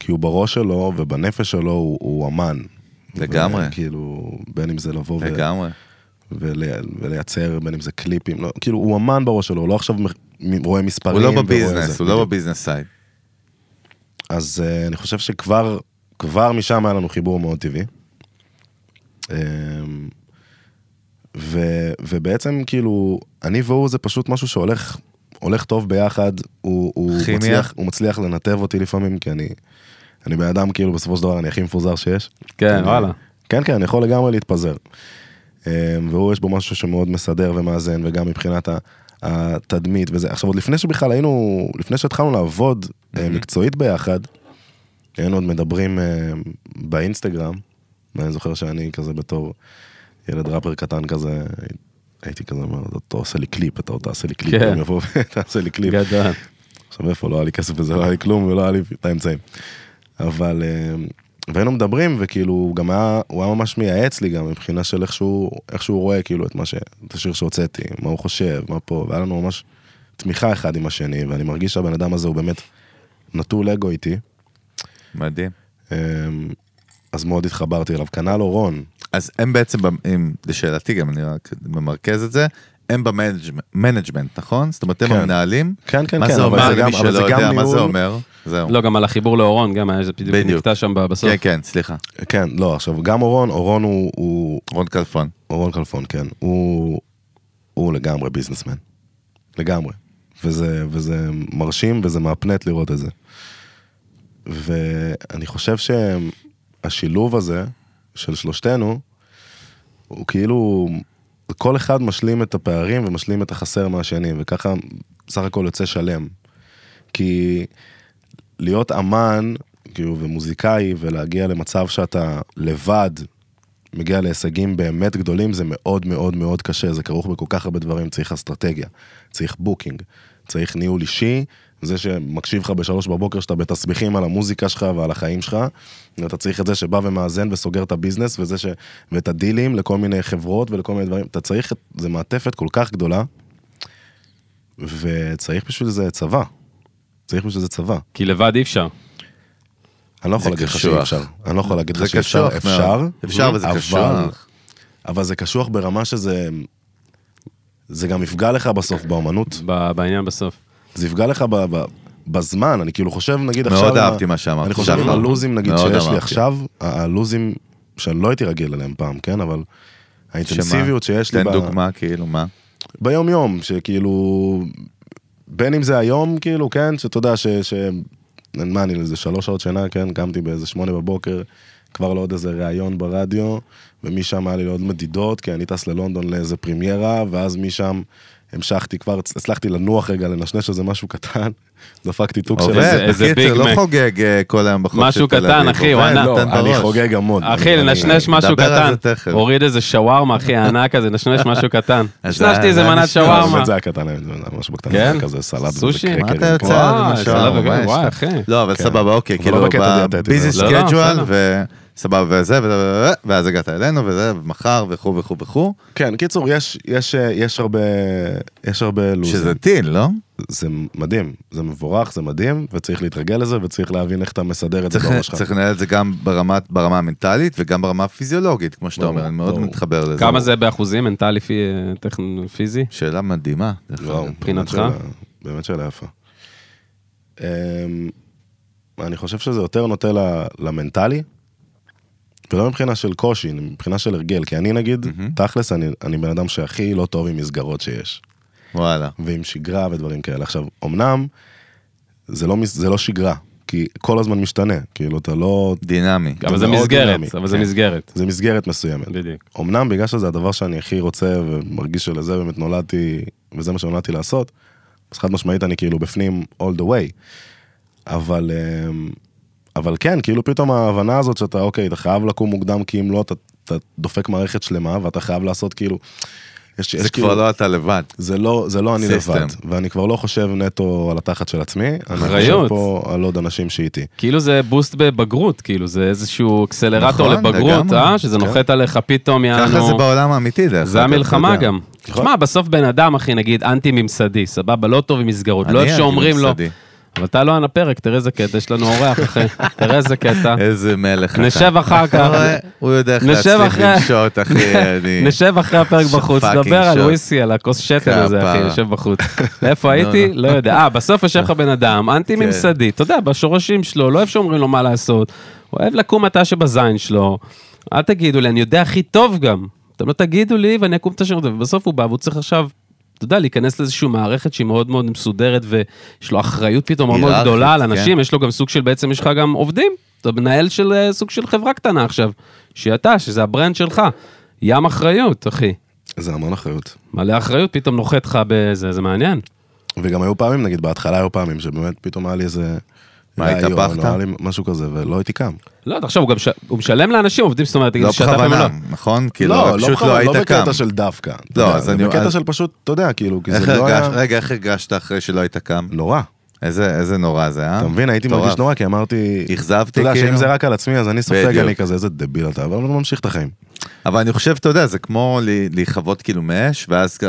כי הוא בראש שלו ובנפש שלו הוא, הוא אמן.
לגמרי.
כאילו, בין אם זה לבוא ו,
לגמרי.
ולי, ולייצר, בין אם זה קליפים, לא, כאילו, הוא אמן בראש שלו, הוא לא עכשיו מ- רואה מספרים.
הוא לא
ורואה
בביזנס,
זה,
הוא לא
בדיוק.
בביזנס סייד.
אז אה, אני חושב שכבר, כבר משם היה לנו חיבור מאוד טבעי. אה, ו, ובעצם כאילו, אני והוא זה פשוט משהו שהולך, הולך טוב ביחד, הוא, הוא,
כימיה.
מצליח, הוא מצליח לנתב אותי לפעמים, כי אני, אני בן אדם כאילו בסופו של דבר אני הכי מפוזר שיש.
כן,
אה,
אני-
וואלה.
כן, כן, אני יכול לגמרי להתפזר. אה, והוא יש בו משהו שמאוד מסדר ומאזן, וגם מבחינת ה- התדמית וזה. עכשיו, עוד לפני שבכלל היינו, לפני שהתחלנו לעבוד אה, מקצועית ביחד, היינו עוד מדברים אה, באינסטגרם, ואני זוכר שאני כזה בתור ילד ראפר קטן כזה, הייתי כזה אומר, אתה עושה לי קליפ, אתה עוד תעשה לי קליפ,
כן.
הם יבואו ותעשה לי קליפ.
גדול.
עכשיו איפה, לא היה לי כסף וזה, לא היה לי כלום ולא היה לי את האמצעים. אבל, אה, והיינו מדברים, וכאילו, הוא גם היה, הוא היה ממש מייעץ לי גם מבחינה של איך שהוא, איך שהוא רואה, כאילו, את מה ש... את השיר שהוצאתי, מה הוא חושב, מה פה, והיה לנו ממש תמיכה אחד עם השני, ואני מרגיש שהבן אדם הזה הוא באמת נטול אגו איתי,
מדהים.
אה, אז מאוד התחברתי אליו. כנ"ל אורון,
אז הם בעצם, במ- אם- לשאלתי גם, אני רק ממרכז את זה, הם במנג'מנט, נכון? זאת אומרת, הם
כן.
המנהלים?
כן, כן,
מה
כן,
זה
אבל
אומר?
זה גם-
למי
אבל זה
שלא
גם
יודע מה
ניהול.
זה אומר? זהו.
לא, גם על החיבור לאורון, גם היה איזה בדיוק
בדיוק.
נקטע שם ב- בסוף.
כן, כן, סליחה.
כן, לא, עכשיו, גם אורון, אורון הוא, הוא,
רון כלפון.
אורון כלפון, כן. הוא, הוא לגמרי ביזנסמן. לגמרי. וזה, וזה מרשים וזה מהפנט לראות את זה. ואני חושב שהשילוב הזה של שלושתנו, הוא כאילו, כל אחד משלים את הפערים ומשלים את החסר מהשני, וככה בסך הכל יוצא שלם. כי להיות אמן, כאילו, ומוזיקאי, ולהגיע למצב שאתה לבד מגיע להישגים באמת גדולים, זה מאוד מאוד מאוד קשה, זה כרוך בכל כך הרבה דברים, צריך אסטרטגיה, צריך בוקינג, צריך ניהול אישי, זה שמקשיב לך בשלוש בבוקר, שאתה בתסביכים על המוזיקה שלך ועל החיים שלך, ואתה צריך את זה שבא ומאזן וסוגר את הביזנס, וזה ש... ואת הדילים לכל מיני חברות ולכל מיני דברים, אתה צריך, זה מעטפת כל כך גדולה, וצריך בשביל זה צבא. צריך בשביל זה צבא.
כי לבד אי אפשר.
אני לא יכול
זה
להגיד לך שאי
קשוח.
אפשר. אני לא יכול להגיד
זה
לך שאי אפשר.
קשוח
אפשר,
מאוד. אפשר, אבל זה
אבל-
קשוח.
אבל זה קשוח ברמה שזה... זה גם יפגע לך בסוף באמנות.
ב- בעניין בסוף.
זה יפגע לך ב... ב... בזמן, אני כאילו חושב, נגיד
מאוד
עכשיו...
אהבתי מה שאמרת,
אני חושב
שחר.
על הלוזים, נגיד,
מאוד
שיש לי
אהבתי.
עכשיו, ה- הלוזים שאני לא הייתי רגיל אליהם פעם, כן? אבל האינטנסיביות
שמה?
שיש לי
תן
ב-
דוגמה, כאילו, מה?
ביום יום, שכאילו, בין אם זה היום, כאילו, כן, שאתה יודע, ש... ש... מה אני לזה, שלוש שעות שינה, כן, קמתי באיזה שמונה בבוקר, כבר לעוד איזה ראיון ברדיו, ומשם היה לי עוד מדידות, כי אני טס ללונדון לאיזה פרימיירה, ואז משם המשכתי כבר, הצלחתי לנוח רגע, לנשנש איזה משהו קטן, (laughs) דפקתי טוק של
איזה-
עובד,
אוקיי, איזה
בקיצר,
ביג
לא
מק.
חוגג אה, כל היום בחוף
משהו
של תל
קטן,
אביב.
אחי, הוא
עובד,
ענק.
נותן
אני
בראש.
חוגג המון.
לא, אחי,
אני-
לנשנש משהו
נדבר על
קטן.
זה תכף.
הוריד איזה שווארמה,
(laughs)
אחי, הענק הזה, נשנש משהו קטן.
אז
נשנשתי
זה-
איזה
זה
מנת
נשמע,
שווארמה.
באמת זה היה קטן, זה היה משהו בקטן,
כן?
היה כזה סלט וזה
סושי? מה אתה
מה
קרקרים.
אתה יוצא
כאילו. וואי,
על
זה לא
משהו?
בגלל,
ממש.
וואי, אחי. כן.
לא, אבל סבבה, אוקיי,
אבל
כאילו,
לא בקטע דיאטטי,
ביזי
לא, לא,
סקייג'ואל,
בסדר.
וסבבה, וזה, וזה, ואז הגעת אלינו, וזה, ומחר, וכו' וכו' וכו',
כן, קיצור, יש, יש, אה, יש הרבה, יש הרבה לוזים.
שזה טיל, לא?
זה מדהים, זה מבורך, זה מדהים, וצריך להתרגל לזה, וצריך להבין איך אתה מסדר את זה
צריך-
בראש שלך.
צריך לנהל את זה גם ברמת- ברמה המנטלית וגם ברמה הפיזיולוגית, כמו שאתה
ברור,
אומר, אני מאוד
ברור.
מתחבר לזה.
כמה זה באחוזים, מנטלי, פי- טכנ- פיזי?
שאלה מדהימה. דרך
וואו,
אגב.
מבחינתך?
באמת שאלה- באמת שאלה יפה. אמ, אני חושב שזה יותר נוטה ל- למנטלי, ולא מבחינה של קושי, מבחינה של הרגל, כי אני נגיד, תכלס, אני- אני בן אדם שהכי לא טוב עם מסגרות שיש.
וואלה.
ועם שגרה ודברים כאלה. עכשיו, אמנם, זה לא, מס- זה לא שגרה, כי כל הזמן משתנה, כאילו, אתה לא...
דינמי. כן.
אבל זה
מאוד
מסגרת,
דינמי,
אבל זה
כן.
מסגרת.
זה מסגרת מסוימת.
בדיוק.
אמנם בגלל שזה הדבר שאני הכי רוצה ומרגיש שלזה באמת נולדתי, וזה מה שנולדתי לעשות, אז חד משמעית אני כאילו בפנים all the way. אבל, אמ, אבל כן, כאילו פתאום ההבנה הזאת שאתה, אוקיי, אתה חייב לקום מוקדם, כי אם לא, אתה, אתה דופק מערכת שלמה, ואתה חייב לעשות כאילו... יש, כאילו-
זה
כאילו-
כבר לא אתה לבד.
זה לא, זה לא אני
סיסטם.
לבד, ואני כבר לא חושב נטו על התחת של עצמי, אני חושב
אחריות.
פה על עוד אנשים שאיתי.
כאילו זה בוסט בבגרות, כאילו זה איזשהו אקסלרטור
נכון,
לבגרות,
לגמרי.
אה? שזה
כן.
נוחת עליך פתאום,
ככה זה
יענו...
בעולם האמיתי, דרך אגב.
זה המלחמה
אתה יודע.
גם. תשמע, בסוף בן אדם, אחי, נגיד, אנטי-ממסדי, סבבה, לא טוב עם מסגרות,
אני
לא איך שאומרים לו.
אנטי-ממסדי.
אבל אתה לא על הפרק, תראה איזה קטע, יש לנו אורח,
(laughs)
אחי, תראה איזה קטע.
איזה מלך אתה.
נשב אחר
אתה
כך.
רואה? הוא יודע איך
נשב
להצליח
אחרי-
למשות, (laughs)
(laughs)
אחי. אני-
נשב אחרי הפרק
ש-
בחוץ,
fucking
דבר על
shot.
וויסי, על הכוס שתן הזה, אחי,
כפרה.
יושב בחוץ.
(laughs)
איפה הייתי? לא יודע. אה, בסוף יושב לך בן
כן.
אדם, אנטי-ממסדי, אתה יודע, בשורשים שלו, לא אוהב שאומרים לו מה לעשות. הוא אוהב לקום אתה שבזין שלו. אל תגידו לי, אני יודע הכי טוב גם. אתם לא תגידו לי ואני אקום את השם הזה, ובסוף הוא בא והוא צריך עכשיו... אתה יודע, להיכנס לאיזושהי מערכת שהיא מאוד מאוד מסודרת ויש לו אחריות פתאום מאוד מאוד
היררכית,
גדולה על
כן.
אנשים, יש לו גם סוג של, בעצם יש לך גם עובדים. אתה מנהל של אה, סוג של חברה קטנה עכשיו, שהיא אתה, שזה הברנד שלך. ים אחריות, אחי.
זה המון אחריות.
מלא אחריות, פתאום נוחת לך בזה, זה מעניין.
וגם היו פעמים, נגיד בהתחלה היו פעמים שבאמת פתאום היה לי איזה...
מה,
רעיון,
התהפכת?
או היה לי משהו כזה, ולא הייתי קם.
לא, תחשוב, הוא גם ש... הוא משלם לאנשים, עובדים, זאת אומרת, תגיד,
לא
שאתה
בכוונה,
במלון.
נכון? כאילו, רק פשוט
בכלל,
לא היית
לא
קם.
בקטע של דווקא. אתה
לא,
יודע,
אז
זה
אני-
בקטע
אז-
של פשוט, אתה יודע, כאילו, כי
איך
זה לא היה...
הרגשת- אה? רגע, איך הרגשת אחרי שלא היית קם?
נורא.
איזה איזה נורא זה, אה?
אתה מבין, הייתי
מטורף.
מרגיש נורא, כי אמרתי...
אכזבתי,
אתה יודע, שאם
כאילו?
זה רק על עצמי, אז אני סופג,
בדיוק.
אני כזה, איזה דביל אתה, אבל הוא ממשיך את החיים.
אבל אני חושב, אתה יודע, זה כמו ל- להיכבות כאילו מאש, ואז כ-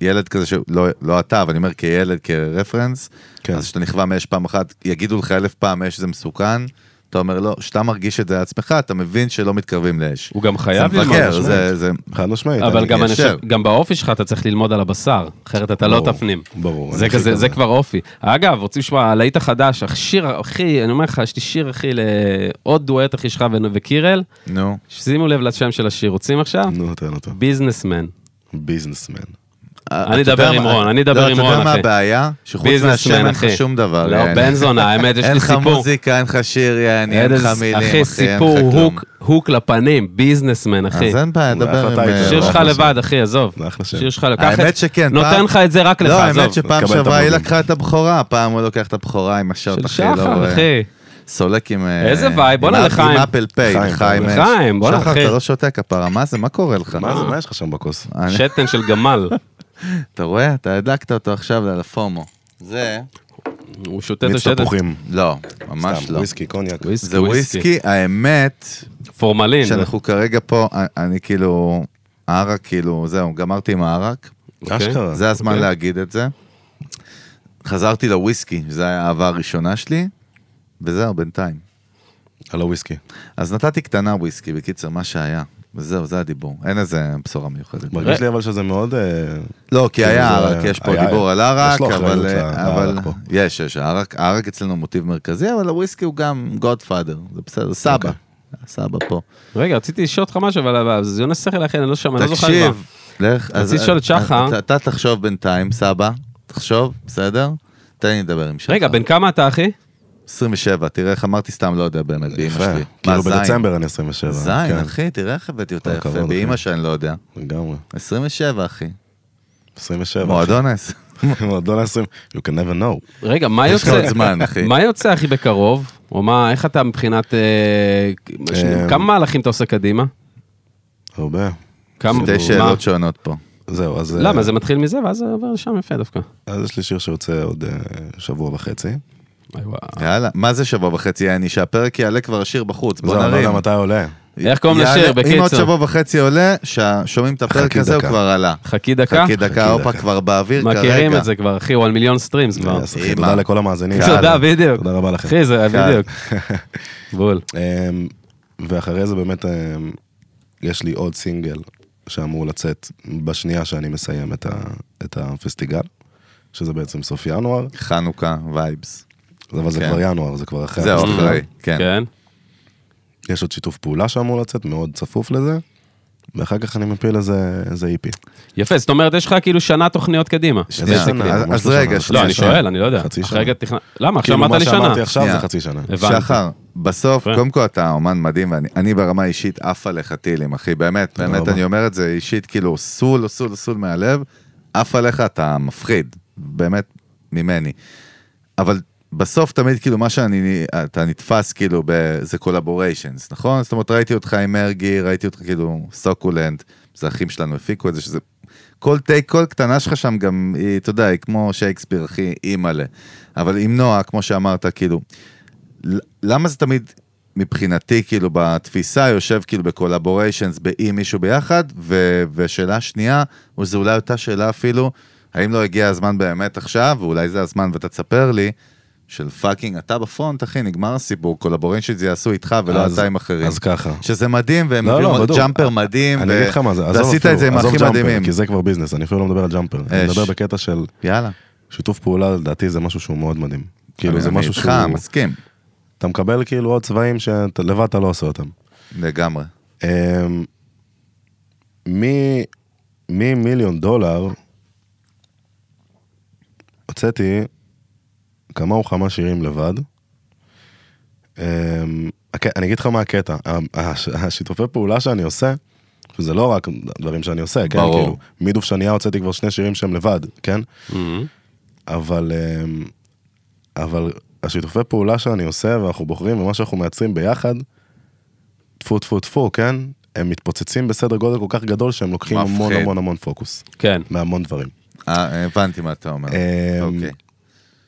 ילד כזה, שלא לא אתה, אבל אני אומר כילד, כרפרנס,
כן.
אז כשאתה נכווה מאש פעם אחת, יגידו לך אלף פעם אש זה מסוכן, אתה אומר לא, כשאתה מרגיש את זה על עצמך, אתה מבין שלא מתקרבים לאש.
הוא גם
זה
חייב ללמוד.
מבקר,
משמעות.
זה, זה,
חד משמעית.
אבל
אני-
גם, אני
ישר.
חושב, גם באופי שלך אתה צריך ללמוד על הבשר, אחרת אתה לא
ברור,
תפנים.
ברור,
זה,
אני חושב
כזה,
כזה.
זה כבר אופי. אגב, רוצים לשמוע, הלהיט החדש, השיר, אחי, אני אומר לך, יש לי שיר, אחי, לעוד דואט, אחי שלך ו- וקירל.
נו,
שימו לב לשם של השיר, רוצים עכשיו?
נו, תן אותו.
ביזנסמן.
ביזנסמן.
אני
אה, אתה
אדבר
יודע
עם
מה-
רון, אני אדבר עם
לא, אתה
רון,
יודע מה
אחי.
הבעיה? שחוץ מהשם
ביזנסמן,
אין לך
אחי.
שום דבר.
לא,
יעני.
בן זונה, האמת, יש
אין
לי
לך
סיפור.
מוזיקה, אין לך שיר, יעני, אין לך
איזה-
מילים, אחי, אין
אחי,
לך
סיפור,
כלום.
הוק, הוק לפנים, ביזנסמן, אחי.
אז אין בעיה,
אולי
דבר עם...
החלטה הייתה
אה,
שיר
לא,
שלך
אחלה
לבד, אחי, עזוב.
זה אחלה שם.
שיר שלך, קח את...
לא, האמת שכן,
נותן
פעם-
לך את זה רק לך,
לא,
עזוב.
האמת שפעם
תקבל את
שעברה היא
הבלוג.
לקחה את הבכורה, הפעם הוא לוקח את הבכורה עם השעות,
של
אחי, לא
שחר,
רואה.
אחי.
סולק עם... אה,
איזה וייב, בואנה,
עם-
לחיים.
עם אפל פיי,
לחיים,
לחיים. אש.
לחיים, בואנה,
שחר,
אחי.
אתה לא שותה כפרה, מה זה, אה, מה קורה לך?
מה זה, מה יש לך שם בכוס?
אני-
שתן של גמל.
אתה רואה? אתה הדלקת אותו עכשיו על הפומו.
זה,
הוא שותה את
מיץ
השתן.
תפוחים.
לא, ממש
סתם,
לא.
וויסקי, קוניאק.
וויסקי,
זה וויסקי, האמת,
כן,
פורמלין.
שאנחנו כרגע פה, א- אני כאילו, הערק כאילו, זהו, גמרתי עם הערק,
אוקיי.
אשכרה.
זה הזמן
אוקיי.
להגיד את זה. חזרתי לוויסקי, שזו הייתה האהבה הראשונה שלי, וזהו, בינתיים.
על הוויסקי.
אז נתתי קטנה וויסקי, בקיצר, מה שהיה. וזהו, זה הדיבור. אין איזה בשורה מיוחדת.
מרגיש לי אבל שזה מאוד... אה,
לא, כי היה
כאילו זה-
ערק, יש פה
היה-
דיבור על
יש
ערק,
לו
אבל... אה,
אחריות ל-
אבל-
לערק פה.
יש, יש, הערק הערק אצלנו מוטיב מרכזי, אבל הוויסקי הוא גם גודפאדר, זה בסדר, סבא.
אוקיי.
סבא פה.
רגע, רציתי לשאול אותך משהו, אבל- אבל זה יונס שכל אחי, אני לא שם, אני לא זוכר. על מה.
תקשיב, לך... אז-
רציתי לשאול את
אז-
שחר.
אתה- אתה תחשוב בינתיים, סבא, תחשוב, בסדר? תן לי לדבר עם שחר.
רגע, בן כמה אתה, אחי?
27, תראה איך אמרתי סתם לא יודע באמת, באמא
יפה.
שלי. מה,
כאילו
זין?
בדצמבר אני 27.
זין,
כן,
אחי, תראה איך הבאתי אותה
כל
יפה,
הכבוד,
באמא
אחי.
שאני לא יודע.
לגמרי.
27, אחי.
27. (laughs)
מועדון עשר.
אחי. מועדון 20. לא You can never know.
רגע, מה
יש לך עוד
יוצא?
זמן, אחי.
מה יוצא, אחי, בקרוב? או מה, איך אתה מבחינת... אה, ש-
אה,
כמה מהלכים אתה עושה קדימה?
הרבה.
כמה? מה?
שתי שאלות שונות פה.
זהו, אז... אה,
למה? זה מתחיל מזה, ואז זה עובר לשם יפה דווקא.
אז יש לי שיר שיוצא עוד אה, שבוע וחצי.
אי, וואו.
יאללה, מה זה שבוע וחצי יעני? שהפרק יעלה כבר השיר בחוץ,
זהו,
בוא
אני לא
נרים.
יודע מתי עולה.
איך קוראים
יעלה-
לשיר,
אם עוד
בקיצור?
שבוע וחצי עולה, ששומעים את הפרק
חכי
הזה, הוא
דקה.
כבר עלה.
חכי דקה.
חכי דקה,
חכי
הופה
דקה.
כבר באוויר כרגע.
מכירים את זה כבר, אחי, הוא על מיליון סטרימס כבר.
אז, אחי,
לא, אימא.
תודה לכל
(laughs)
המאזינים.
תודה,
יאללה.
בדיוק.
אה, לא. תודה רבה לכם.
אחי, זה
קל.
בדיוק. בול.
אמ, ואחרי זה באמת אמ, יש לי עוד סינגל שאמור לצאת בשנייה שאני מסיים את, ה, את הפסטיגל, שזה בעצם סוף ינואר,
חנוכה, וייבס.
אבל זה
כן.
כבר ינואר, זה כבר אחרי.
זהו,
הפסטיגל.
אחרי, כן.
כן.
יש עוד שיתוף פעולה שאמור לצאת, מאוד צפוף לזה, ואחר כך אני מפיל איזה, איזה E איפי.
יפה, זאת אומרת, יש לך כאילו שנה תוכניות קדימה.
שנייה,
איזה שנה?
אז-
ממש
אז
לא
רגע,
שנה.
לא,
שנייה,
אני
שנייה.
שואל, אני לא יודע.
חצי
אחרי
שנה.
רגע תכנן... למה? עכשיו
כאילו
אמרת
מה
לי
שאמרתי
שנה.
עכשיו
שנייה.
זה חצי שנה.
הבנתי.
שחר, בסוף,
יפה.
קודם כל אתה אומן מדהים, ואני אני ברמה אישית עף עליך טילים, אחי, באמת, באמת,
רבה.
אני אומר את זה אישית, כאילו, סול, סול, סול מהלב, עף עליך, אתה מפחיד, באמת, ממני. אבל בסוף תמיד, כאילו, מה שאני, אתה נתפס, כאילו, ב- זה קולבוריישנס, נכון? זאת אומרת, ראיתי אותך עם מרגי, ראיתי אותך, כאילו, סוקולנד, זה אחים שלנו הפיקו את זה, שזה... כל טייק, כל קטנה שלך שם גם, היא, אתה יודע, היא כמו שייקספיר, אחי, אימא'לה. אבל עם נועה, כמו שאמרת, כאילו, ל- למה זה תמיד מבחינתי, כאילו, בתפיסה, יושב כאילו בקולבוריישנס, עם מישהו ביחד? ו- ושאלה שנייה, או זו אולי אותה שאלה אפילו, האם לא הגיע הזמן באמת עכשיו, ואולי זה הזמן ואתה תספר לי, של פאקינג, אתה בפרונט, אחי, נגמר הסיפור, קולבוריישנס יעשו איתך ולא
אז-
אתה עם אחרים.
אז ככה.
שזה מדהים, והם
לא,
הביאו
לא, בדוק.
ג'אמפר מדהים,
אני אגיד לך מה זה, עזוב
ועשית
אפילו-
את זה עם
עזוב
הכי
ג'אמפר, כאילו,
מדהימים.
כי זה כבר ביזנס, אני אפילו לא מדבר על ג'אמפר. אני
אש.
מדבר בקטע של
יאללה.
שיתוף פעולה, לדעתי זה משהו שהוא מאוד מדהים. כאילו
אני-
זה
אני
משהו
איתך,
שהוא...
מסכים,
אתה מקבל כאילו עוד צבעים שלבד אתה לא עושה אותם.
לגמרי.
אמ, מ- ממיליון דולר הוצאתי כמה וכמה שירים לבד. אמ, הק- אני אגיד לך מה הקטע, ה- הש- השיתופי פעולה שאני עושה, שזה לא רק דברים שאני עושה, כן?
ברור.
כאילו, מידוף שנייה הוצאתי כבר שני שירים שהם לבד, כן?
מהמם.
אבל, אמ, אבל השיתופי פעולה שאני עושה ואנחנו בוחרים ומה שאנחנו מייצרים ביחד, טפו טפו טפו, כן? הם מתפוצצים בסדר גודל כל כך גדול שהם לוקחים
מפחיד.
המון המון המון פוקוס
כן.
מהמון דברים.
אה, הבנתי מה אתה אומר,
אמ,
אוקיי.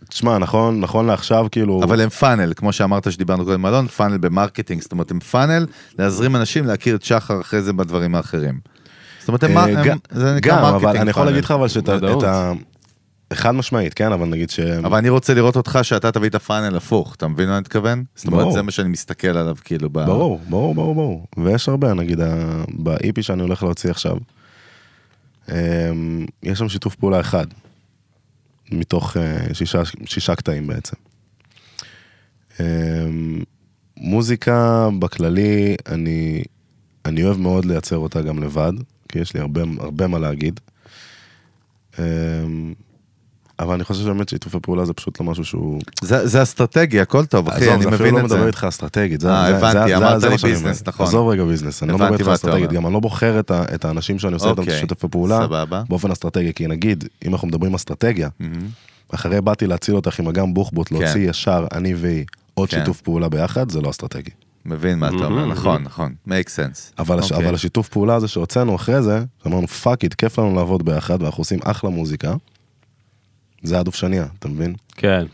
תשמע, נכון, נכון לעכשיו, כאילו...
אבל הם פאנל, כמו שאמרת שדיברנו קודם עם אלון, פאנל במרקטינג, זאת אומרת הם פאנל להזרים אנשים להכיר את שחר אחרי זה בדברים האחרים. זאת אומרת, הם,
אה,
הם-
גם-
זה נקרא
גם,
מרקטינג
אבל אני יכול
פאנל.
להגיד לך אבל שאת ה-
בוודאות.
את ה... חד משמעית, כן, אבל נגיד ש...
אבל אני רוצה לראות אותך שאתה תביא את הפאנל הפוך, אתה מבין מה אני מתכוון? זאת אומרת,
ברור.
זה מה שאני מסתכל עליו כאילו. ב-
ברור, ברור, ברור, ברור. ויש הרבה, נגיד, ה- ב-EP שאני הולך להוציא עכשיו, אמ, יש שם שיתוף פעולה אחד, מתוך אה, שישה, שישה קטעים בעצם. אמ, מוזיקה בכללי, אני, אני אוהב מאוד לייצר אותה גם לבד, כי יש לי הרבה, הרבה מה להגיד. אמ, אבל אני חושב שבאמת שיתופי פעולה זה פשוט לא משהו שהוא...
זה זה אסטרטגיה, הכל טוב, אחי,
עזוב,
אוקיי, אני
זה אפילו
מבין
לא
את זה.
מדבר איתך אסטרטגית, זה
אה,
זה-
הבנתי,
זה- זה-
אמרת
זה
לי
מה שאני
ביזנס,
אומר.
נכון.
עזוב רגע ביזנס, אני לא מדבר
הבנתי
איתך
מה אתה
אסטרטגית,
אומר.
גם אני לא בוחר את ה- את האנשים שאני עושה איתם
אוקיי,
שותפי פעולה,
סבבה.
באופן אסטרטגי, כי נגיד, אם אנחנו מדברים אסטרטגיה, אחרי באתי להציל אותך עם אגם בוחבוט, להוציא ישר, אני והיא, עוד
כן.
שיתוף פעולה ביחד, זה לא אסטרטגי.
מבין מה אתה אומר, נכון, נכון, make sense.
אבל הש-
אוקיי.
אבל השיתוף פעולה הזה שהוצאנו אחרי זה, אמרנו פאק איט, כיף לנו לעבוד ביחד, ואנחנו עושים אחלה מוזיקה, זה היה דובשניה, אתה מבין?
כן.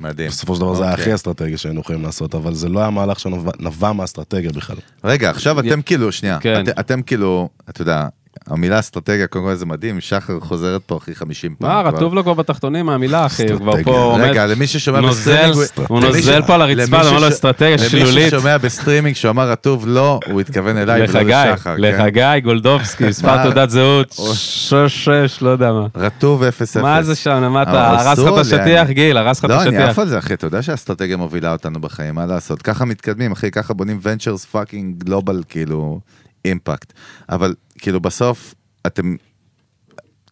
מדהים.
בסופו של דבר זה היה
אוקיי.
הכי אסטרטגי שהיינו יכולים לעשות, אבל זה לא היה מהלך שנבע מהאסטרטגיה בכלל.
רגע, עכשיו אתם כאילו, שנייה,
כן.
את- אתם כאילו, אתה יודע, המילה אסטרטגיה, קודם כל זה מדהים, שחר חוזרת פה הכי 50 פעם.
מה,
כן, כבר.
רטוב לו כבר בתחתונים המילה, אחי, הוא כבר
אסטרטגיה.
פה עומד.
רגע, למי ששומע
נוזל,
בסטרימינג,
הוא
למי
נוזל
ש-
פה על הרצפה,
למי
הוא אומר לו
שש-
אסטרטגיה
למי
שלולית.
ששומע בסטרימינג שאמר רטוב לא, הוא התכוון אליי ולא
לחגי,
לשחר. כן?
לחגי גולדובסקי,
(laughs)
מספר
מה?
תעודת זהות, שש, שש, לא יודע מה.
רטוב 0-0.
מה זה שם, מה אתה,
אבל
הרס לך
אסור
את השטיח,
לי,
גיל, הרס לך את
לא, אני
השטיח.
עף על זה, אחי, אתה יודע שהאסטרטגיה מובילה אותנו בחיים, מה לעשות? ככה מתקדמים, אחי, ככה בונים ונצ'רס פאקינג גלובל, כאילו, אימפקט. אבל, כאילו, בסוף, אתם,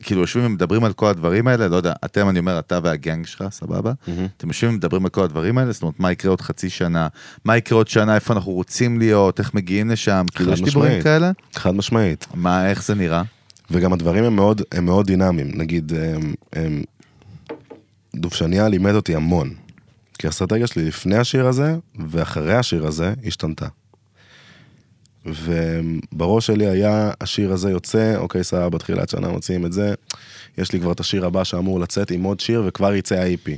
כאילו, יושבים ומדברים על כל הדברים האלה, לא יודע, אתם, אני אומר, אתה והגנג שלך, סבבה? אתם יושבים ומדברים על כל הדברים האלה, זאת אומרת, מה יקרה עוד חצי שנה, מה יקרה עוד שנה, איפה אנחנו רוצים להיות, איך מגיעים לשם, כאילו,
חד
יש דיבורים
משמעית.
כאלה?
חד משמעית.
מה, איך זה נראה?
וגם הדברים הם מאוד, הם מאוד דינמיים. נגיד, הם, הם, דובשניה לימד אותי המון. כי האסטרטגיה שלי לפני השיר הזה, ואחרי השיר הזה, השתנתה. ובראש שלי היה, השיר הזה יוצא, אוקיי, סבבה, בתחילת שנה מוציאים את זה. יש לי כבר את השיר הבא שאמור לצאת עם עוד שיר, וכבר יצא ה-IP.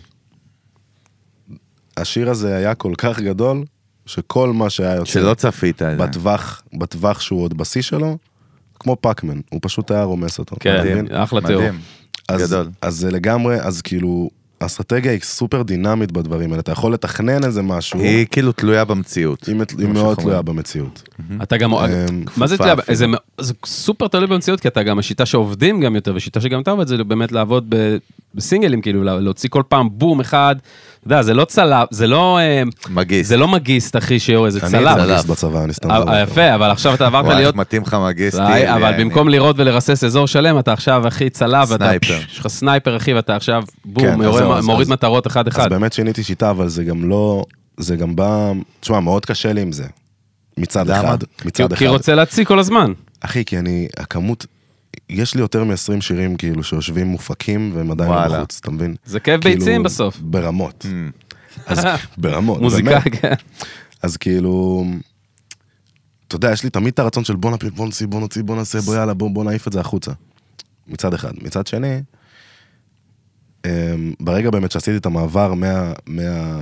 השיר הזה היה כל כך גדול, שכל מה שהיה יוצא...
שלא צפית
כן.
את זה.
בטווח, בטווח שהוא עוד בשיא שלו, כמו פאקמן, הוא פשוט היה רומס אותו. אתה
כן,
מבין?
אחלה תיאור.
מדהים,
אז,
גדול.
אז זה לגמרי, אז כאילו, האסטרטגיה היא סופר דינמית בדברים האלה, אתה יכול לתכנן איזה משהו,
היא כאילו תלויה במציאות.
היא, מת-
כמו
היא מאוד
שאנחנו
תלויה במציאות.
אתה גם,
אמ,
מה זה
כפופה
תלוי,
Mm-hmm. אפילו.
זה מא- זה סופר תלוי במציאות, כי אתה גם, השיטה שעובדים גם יותר, ושיטה שגם אתה עובד, זה באמת לעבוד ב- בסינגלים, כאילו, לה- להוציא כל פעם בום אחד, אתה יודע, זה לא צלב, זה לא, אמ,
מגיס.
זה לא מגיסט, אחי, שיורה, זה
אני הייתי
צלב.
מגיס בצבא, אני סתם לא
אה,
זורק.
יפה, אבל עכשיו אתה עברת
וואי,
להיות
איך מתאים לך מגיסטי.
ראי, אבל במקום לירות ולרסס אזור שלם, אתה עכשיו אחי צלב, ואתה-
סנייפר.
יש לך סנייפר אחי, ואתה עכשיו
כן,
בום,
אז
יורה,
זהו, אז-
מוריד
אז-
מטרות אחד-אחד.
אז באמת שיניתי שיטה, אבל זה גם לא, זה גם בא, תשמע, מאוד קשה לי עם זה. מצד
למה?
אחד,
כי-
מצד
כי
אחד.
רוצה להציג כל הזמן.
אחי, כי אני, הכמות, יש לי יותר מ-20 שירים כאילו שיושבים מופקים והם עדיין לא
וואלה.
בחוץ, אתה מבין?
זה כאב
כאילו,
ביצים בסוף.
ברמות.
(laughs)
אז ברמות,
מוזיקה,
באמת.
כן.
אז כאילו, אתה יודע, יש לי תמיד את הרצון של בוא נפיל, בוא נוציא, בוא נוציא, בוא נעשה, בוא יאללה, בוא, בוא נעיף את זה החוצה. מצד אחד. מצד שני, אמ, ברגע באמת שעשיתי את המעבר מה, מה,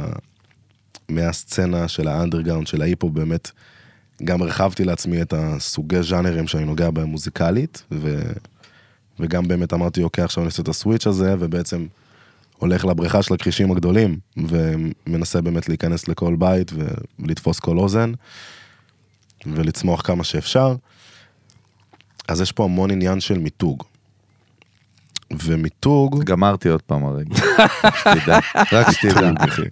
מהסצנה של האנדרגאונד, של ההיפו, באמת, גם הרחבתי לעצמי את הסוגי ז'אנרים שאני נוגע בהם מוזיקלית, ו, וגם באמת אמרתי, אוקיי, עכשיו אני עושה את הסוויץ' הזה, ובעצם הולך לבריכה של הכרישים הגדולים, ומנסה באמת להיכנס לכל בית ולתפוס כל אוזן, ולצמוח כמה שאפשר. אז יש פה המון עניין של מיתוג. ומיתוג...
גמרתי עוד פעם הרגע. שתדע, רק
(laughs)
שתדע.
אחי.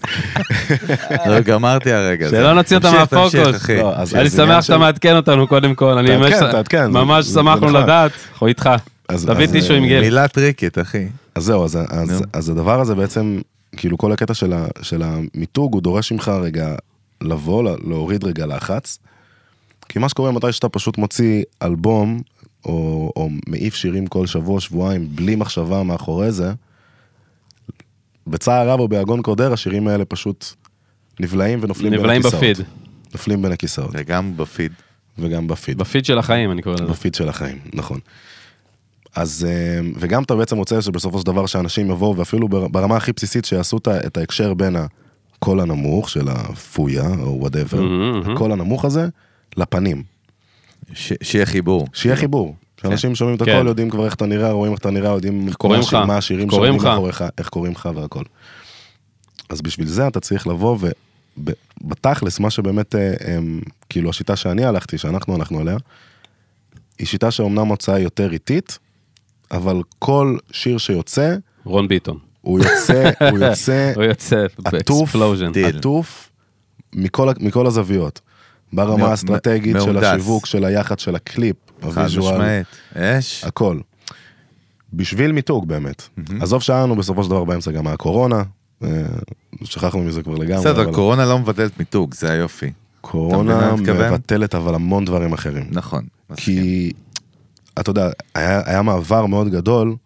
לא, גמרתי הרגע.
שלא נוציא אותם
תמשיך, תמשיך,
מהפוקוס.
אחי.
לא, אז-
אני
אז עניין
שמח שאתה
של-
מעדכן אותנו קודם כל, אני
תעדכן,
ממש-
תעדכן, זה-
ממש
זה
שמחנו
נחמד.
לדעת, אנחנו איתך.
אז-
תביא
אז,
טישו עם
אה,
גיל.
מילה טריקית, אחי.
אז זהו, אז, אז,
נו.
אז הדבר הזה בעצם, כאילו כל הקטע של, ה, של המיתוג, הוא דורש ממך רגע לבוא, לה- להוריד רגע לחץ. כי מה שקורה מתי שאתה פשוט מוציא אלבום, או, או מעיף שירים כל שבוע, שבועיים, בלי מחשבה מאחורי זה, בצער רב או ביגון קודר, השירים האלה פשוט נבלעים ונופלים בין
נבלעים
הכיסאות.
בפיד. כן.
נופלים בין הכיסאות,
וגם בפיד.
וגם בפיד.
בפיד של החיים, אני קורא לזה.
בפיד של החיים, נכון. אז, אמ, וגם אתה בעצם רוצה שבסופו של דבר שאנשים יבואו, ואפילו בר- ברמה הכי בסיסית שיעשו את ה- את ההקשר בין הקול הנמוך של הפויה, או וואטאבר,
מהמם, מהמם.
הקול הנמוך הזה, לפנים.
ש- שיהיה חיבור.
שיהיה חיבור. שאנשים שומעים את
כן.
הקול, יודעים כבר איך אתה נראה, רואים איך אתה נראה, יודעים מה
קוראים
השיר-
לך,
מה השירים
איך קוראים
שעומדים
לך.
מאחוריך, איך קוראים לך והכל. אז בשביל זה אתה צריך לבוא ו... ב- בתכלס, מה שבאמת, אה, אמ, כאילו השיטה שאני הלכתי, שאנחנו הלכנו עליה, היא שיטה שאומנם הוצאה יותר איטית, אבל כל שיר שיוצא,
רון ביטון.
הוא
(laughs)
יוצא, הוא יוצא
הוא יוצא
עטוף,
באקספלוז'ן.
די. טיל.
עטוף מכל, ה- מכל הזוויות. ברמה
מא-
האסטרטגית של
מהונדס.
השיווק, של היח"צ, של הקליפ,
חד
הוויז'ואל,
משמעית. אש.
הכל. בשביל מיתוג באמת. עזוב שלנו, בסופו של דבר באמצע גם היה קורונה, אה, שכחנו מזה כבר לגמרי.
בסדר,
אבל
קורונה לא מבטלת מיתוג, זה היופי. אתה
קורונה
מבין מה אני מתכוון?
מבטלת אבל המון דברים אחרים.
נכון. מסכים.
כי, אתה יודע, היה היה מעבר מאוד גדול,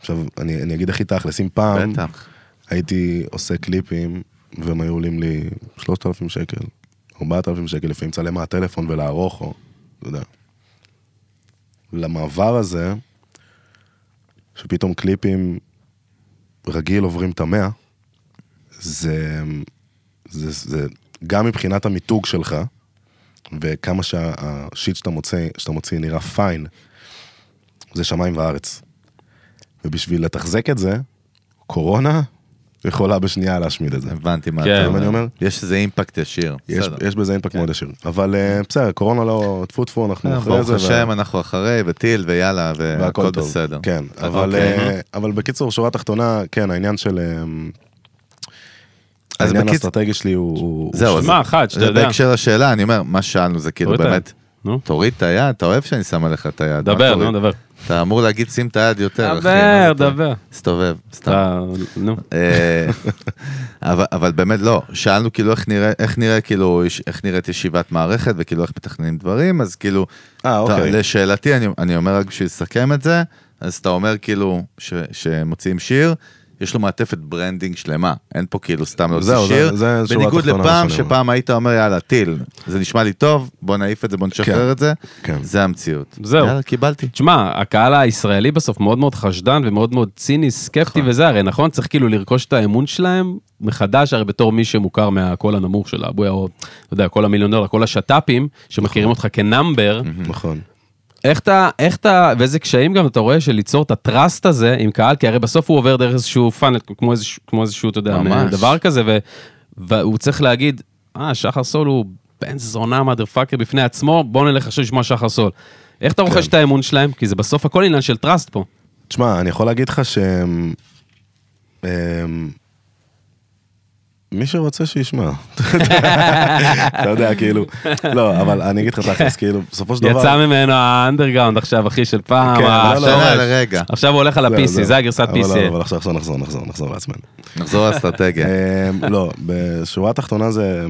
עכשיו אני אני אגיד הכי תכלס, אם פעם
בטח.
הייתי עושה קליפים, והם היו עולים לי 3,000 שקל, 4,000 שקל, לפעמים צלם מהטלפון ולערוך, או, אתה יודע. למעבר הזה, שפתאום קליפים רגיל עוברים את המאה, זה, זה, זה גם מבחינת המיתוג שלך, וכמה שהשיט שאתה מוציא, שאתה מוציא נראה פיין, זה שמיים וארץ. ובשביל לתחזק את זה, קורונה יכולה בשנייה להשמיד את זה.
הבנתי מה
כן.
אתה
אני
אומר.
אומר.
יש איזה אימפקט ישיר.
יש,
בסדר. כן.
יש בזה אימפקט מאוד ישיר. אבל אה, בסדר, קורונה לא, טפו טפו, אנחנו אחרי
אה, ברוך
זה. וה-
השם, אנחנו אחרי, וטיל, ויאללה, והכל
והכל טוב.
בסדר.
כן, אבל,
אוקיי.
אה, אבל בקיצור, שורה תחתונה, כן, העניין של... אה,
אז
העניין
בקיצ-
האסטרטגי שלי הוא... הוא-
זהו,
הוא-
אז-
שמע, אחת, שאתה
זה
יודע.
בהקשר לשאלה, אני אומר, מה שאלנו זה כאילו
תוריד את
באמת,
היד. נו,
תוריד את היד, אתה אוהב שאני שם עליך את היד. מה
דבר, לא
תוריד?
נו, דבר.
אתה אמור להגיד שים את היד יותר, אחי. מה
דבר,
זה אתה-
דבר.
הסתובב, סתם.
אתה, נו.
אה, (laughs) אבל, אבל באמת לא, שאלנו כאילו איך נראה, איך נראה כאילו, יש- איך נראית ישיבת מערכת וכאילו איך מתכננים דברים, אז כאילו,
אה, אוקיי.
אתה, לשאלתי, אני, אני אומר רק בשביל לסכם את זה, אז אתה אומר כאילו ש, שמוציאים שיר, יש לו מעטפת ברנדינג שלמה, אין פה כאילו סתם להוציא
זהו, זה-
שיר,
זה השורה
בניגוד
התחתונה
לפעם
שאני אומר.
שפעם היית אומר יאללה טיל, זה נשמע לי טוב, בוא נעיף את זה, בוא נשחרר
כן,
את זה,
כן.
זה המציאות.
זהו.
יאללה, קיבלתי.
תשמע, הקהל הישראלי בסוף מאוד מאוד חשדן ומאוד מאוד ציני, סקפטי וזה, הרי נכון, צריך כאילו לרכוש את האמון שלהם מחדש, הרי בתור מי שמוכר מהקול הנמוך של האבויה, או, אתה יודע, כל המיליונר, כל השת"פים, שמכירים אותך כנאמבר,
נכון.
איך אתה, איך אתה, ואיזה קשיים גם אתה רואה של ליצור את הטראסט הזה עם קהל, כי הרי בסוף הוא עובר דרך איזשהו פאנל, כמו איזשהו, כמו איזשהו אתה יודע,
ממש.
דבר כזה, ו, והוא צריך להגיד, אה, שחר סול הוא בן זונה מאדר פאקר בפני עצמו, בוא נלך עכשיו לשמוע שחר סול. איך אתה
כן.
רוכש את האמון שלהם? כי זה בסוף הכל עניין של טראסט פה.
תשמע, אני יכול להגיד לך ש... אמ, מי שרוצה
(laughs)
שישמע. אתה יודע, כאילו, לא, אבל אני אגיד לך תכלס, כאילו, בסופו של דבר...
יצא ממנו האנדרגאונד עכשיו, אחי, של פעם,
כן, אבל לא, לא,
השורש.
שנה לרגע,
עכשיו הוא הולך על
זהו,
ה-PC,
זהו.
זה הגרסת
אבל לא,
PC.
אבל עכשיו עכשיו נחזור, נחזור, נחזור לעצמנו.
נחזור לאסטרטגיה.
אמ, לא, בשורה התחתונה זה...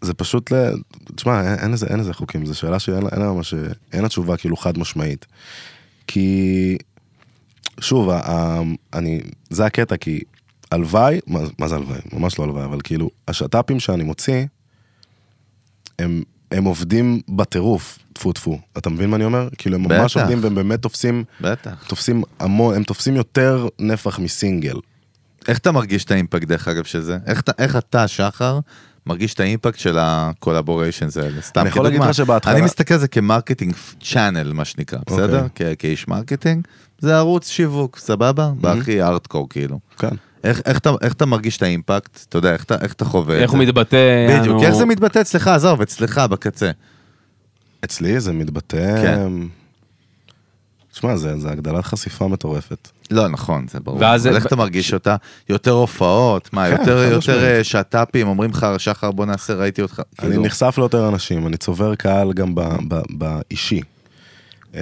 זה פשוט ל... תשמע, אין- אין איזה- אין איזה חוקים, זו שאלה שאין לה- אין לה ממש... אין לה תשובה כאילו חד משמעית. כי... שוב, ה- ה- אני... זה הקטע, כי הלוואי, מה- מה זה הלוואי? ממש לא הלוואי, אבל כאילו, השת"פים שאני מוציא, הם, הם עובדים בטירוף, טפו טפו. אתה מבין מה אני אומר? כאילו, הם ממש
בטח.
עובדים והם באמת תופסים,
בטח.
תופסים המון, הם תופסים יותר נפח מסינגל.
איך אתה מרגיש את האימפקט דרך אגב של זה? איך, אתה- איך אתה, שחר, מרגיש את האימפקט של הקולבוריישנס האלה? סתם
אני יכול להגיד לך שבהתחלה- אוקיי.
אני מסתכל על זה כמרקטינג צ'אנל, מה שנקרא, בסדר? כ- כאיש מרקטינג, זה ערוץ שיווק, סבבה?
Mm-hmm.
בהכי ארטקור כאילו.
כן.
איך, איך, אתה, איך אתה מרגיש את האימפקט? אתה יודע, איך, אתה- איך אתה
לא,
חווה את
איך
זה?
הוא מתבטא,
בדיוק,
אנו-
איך זה מתבטא אצלך, עזוב, אצלך בקצה.
אצלי זה מתבטא...
כן.
שמע, זה, זה הגדלת חשיפה מטורפת.
לא, נכון, זה ברור.
ואז
אבל
זה-
איך אתה מרגיש אותה? יותר הופעות, מה,
כן,
יותר,
חד
יותר
משמעית.
אה, שת"פים, אומרים לך, שחר, בוא נעשה, ראיתי אותך.
אני
כאילו,
נחשף ליותר אנשים, אני צובר קהל גם ב, ב, באישי. אמ,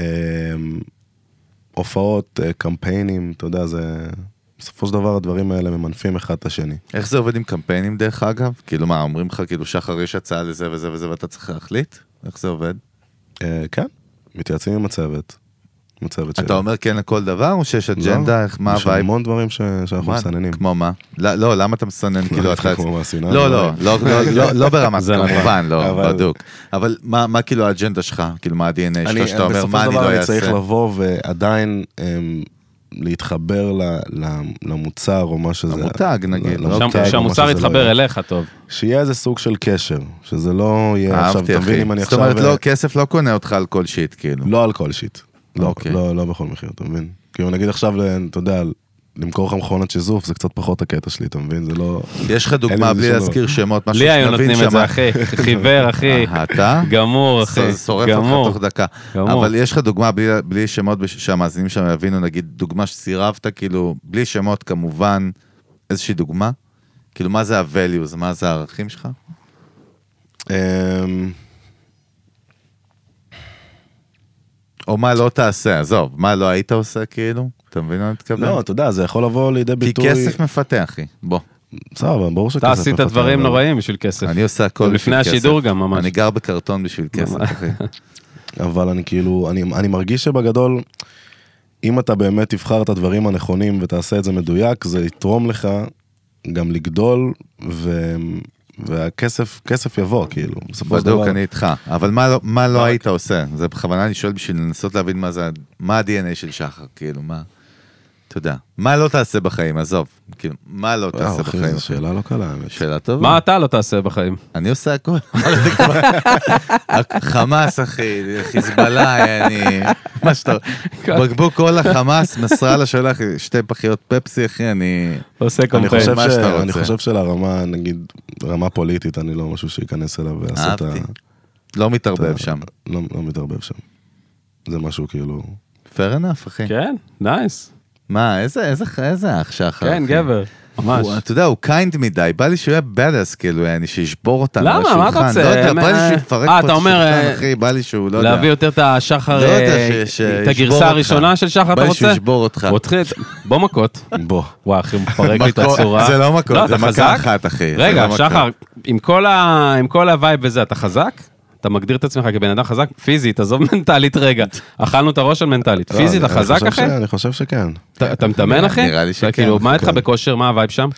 הופעות, אה, קמפיינים, אתה יודע, זה... בסופו של דבר הדברים האלה ממנפים אחד את השני.
איך זה עובד עם קמפיינים דרך אגב? כאילו מה, אומרים לך כאילו שחר יש הצעה לזה וזה וזה ואתה צריך להחליט? איך זה עובד?
אה, כן, מתייעצים עם הצוות. עם הצוות שלי.
אתה אומר כן לכל דבר או שיש
לא?
אג'נדה? איך- מה
יש
הווייב?
המון דברים ש... שאנחנו
מה?
מסננים.
כמו מה? לא, לא, למה אתה מסנן
(laughs)
כאילו אתה...
כמו מהסיני,
לא, לא,
אבל- נכון.
לא, לא, לא, לא
(laughs)
ברמת,
זה
כמובן, לא,
אבל-
בדוק. אבל מה מה כאילו האג'נדה שלך? כאילו מה ה-DNA שלך שאתה אומר,
בסופו
מה
של
אני
דבר
לא
אני צריך
אעשה?
לבוא ועדיין אמ, להתחבר ל- ל- למוצר או מה שזה.
למותג, נגיד,
ל-
לא?
למותג,
שם-
או
שהמוצר
מה שזה לא
יתחבר
יהיה.
אליך טוב.
שיהיה איזה סוג של קשר, שזה לא יהיה עכשיו,
אוקיי, אהבתי
אתה מבין אם
אחי.
אני
זאת
עכשיו...
אומרת,
אה,
לא, כסף לא קונה אותך על כל שיט, כאילו.
לא על כל שיט. לא,
אוקיי.
לא, לא בכל מחיר, אתה מבין? כאילו נגיד עכשיו, ל- אתה יודע, למכור לך מכונת שיזוף זה קצת פחות הקטע שלי, אתה מבין? זה לא...
יש לך
אין
דוגמה
לי
בלי
שום דבר.
להזכיר שמות, משהו
לי היו
שנבין
נותנים את זה,
שמה-
(laughs)
אחי. חיוור, אחי.
אה, אתה?
גמור, אחי.
ש- שורף אותך
אה, גמור.
תוך דקה.
גמור.
אבל יש לך דוגמה בלי- בלי שמות, בש- שהמאזינים שם יבינו, נגיד דוגמה שסירבת, כאילו, בלי שמות כמובן, איזושהי דוגמה? כאילו, מה זה ה-values, מה זה הערכים שלך?
אמ,
או מה לא תעשה, עזוב, מה לא היית עושה, כאילו? אתה מבין מה אני מתכוון?
לא, אתה יודע, זה יכול לבוא לידי
כי
ביטוי...
כסף מפתה, אחי. בוא,
סבבה, ברור שכסף...
אתה עשית
מפתח,
דברים
אבל-
נוראים בשביל כסף.
אני עושה הכל
לפני
בשביל כסף.
השידור גם, ממש.
אני גר בקרטון בשביל כסף, אחי.
אבל אני כאילו, אני, אני מרגיש שבגדול, אם אתה באמת תבחר את הדברים הנכונים ותעשה את זה מדויק, זה יתרום לך גם לגדול, ו, והכסף כסף יבוא, כאילו, בסופו של דבר.
בדיוק, אני איתך. אבל מה לא- מה לא היית עושה? זה בכוונה אני שואל בשביל לנסות להבין מה זה, ה- מה ה-DNA של שחר, כאילו, מה... אתה אתה יודע, מה לא תעשה בחיים, עזוב, כאילו, מה לא
וואו,
תעשה
אה, אחי,
בחיים?
זו שאלה לא קלה, האמת.
שאלה טובה.
מה אתה לא תעשה בחיים?
אני עושה הכל. (laughs) חמאס, אחי, חיזבאללה, אני... מה שאתה... בקבוק כל החמאס, נסראללה שלח לי שתי פחיות פפסי, אחי, אני...
(laughs) עושה
אני
קמפיין.
חושב,
מה
ש...
שאתה רוצה.
אני חושב שלרמה, נגיד, רמה פוליטית, אני לא משהו שייכנס אליו ויעשה את ה...
אהבתי. לא מתערבב שם.
לא, לא מתערבב שם. זה משהו כאילו...
fair enough, אחי.
כן, נייס.
מה, איזה איזה- איזה אח שחר.
כן,
אחי.
גבר. ממש.
הוא- אתה יודע, הוא קיינד מדי, בא לי שהוא יהיה badass, כאילו, יעני, שישבור אותנו על
למה? מה אתה
השולחן.
רוצה?
לא יודע, בא לי
אה,
שהוא יפרק
אה,
פה
אתה
את
אומר,
השולחן,
אה,
אחי, בא לי שהוא, לא יודע.
להביא יותר את השחר,
לא יודע,
אה,
ש- ש-
את
ישבור אותך.
הגרסה הראשונה של שחר,
בא
אתה
לי
רוצה?
שהוא ישבור אותך.
הוא התחיל, בוא מכות.
בוא.
וואי, אחי, הוא
(laughs)
מפרק לי את
מכות-
הצורה.
זה לא מכות,
לא,
זה
אתה
מכה
חזק?
אחת, אחי, זה
רגע,
לא מכה.
שחר, עם כל ה- עם כל הווייב וזה, אתה חזק? אתה מגדיר את עצמך כבן אדם חזק? פיזית, עזוב (laughs) מנטלית רגע. אכלנו את הראש על מנטלית.
לא,
פיזית,
אני-
אתה
אני
חזק
חושב
אחי?
ש- אני חושב שכן.
אתה- אתה מתאמן אחי?
נראה לי
אתה
שכן,
כאילו, מה איתך
כן.
בכושר? מה הווייב שם?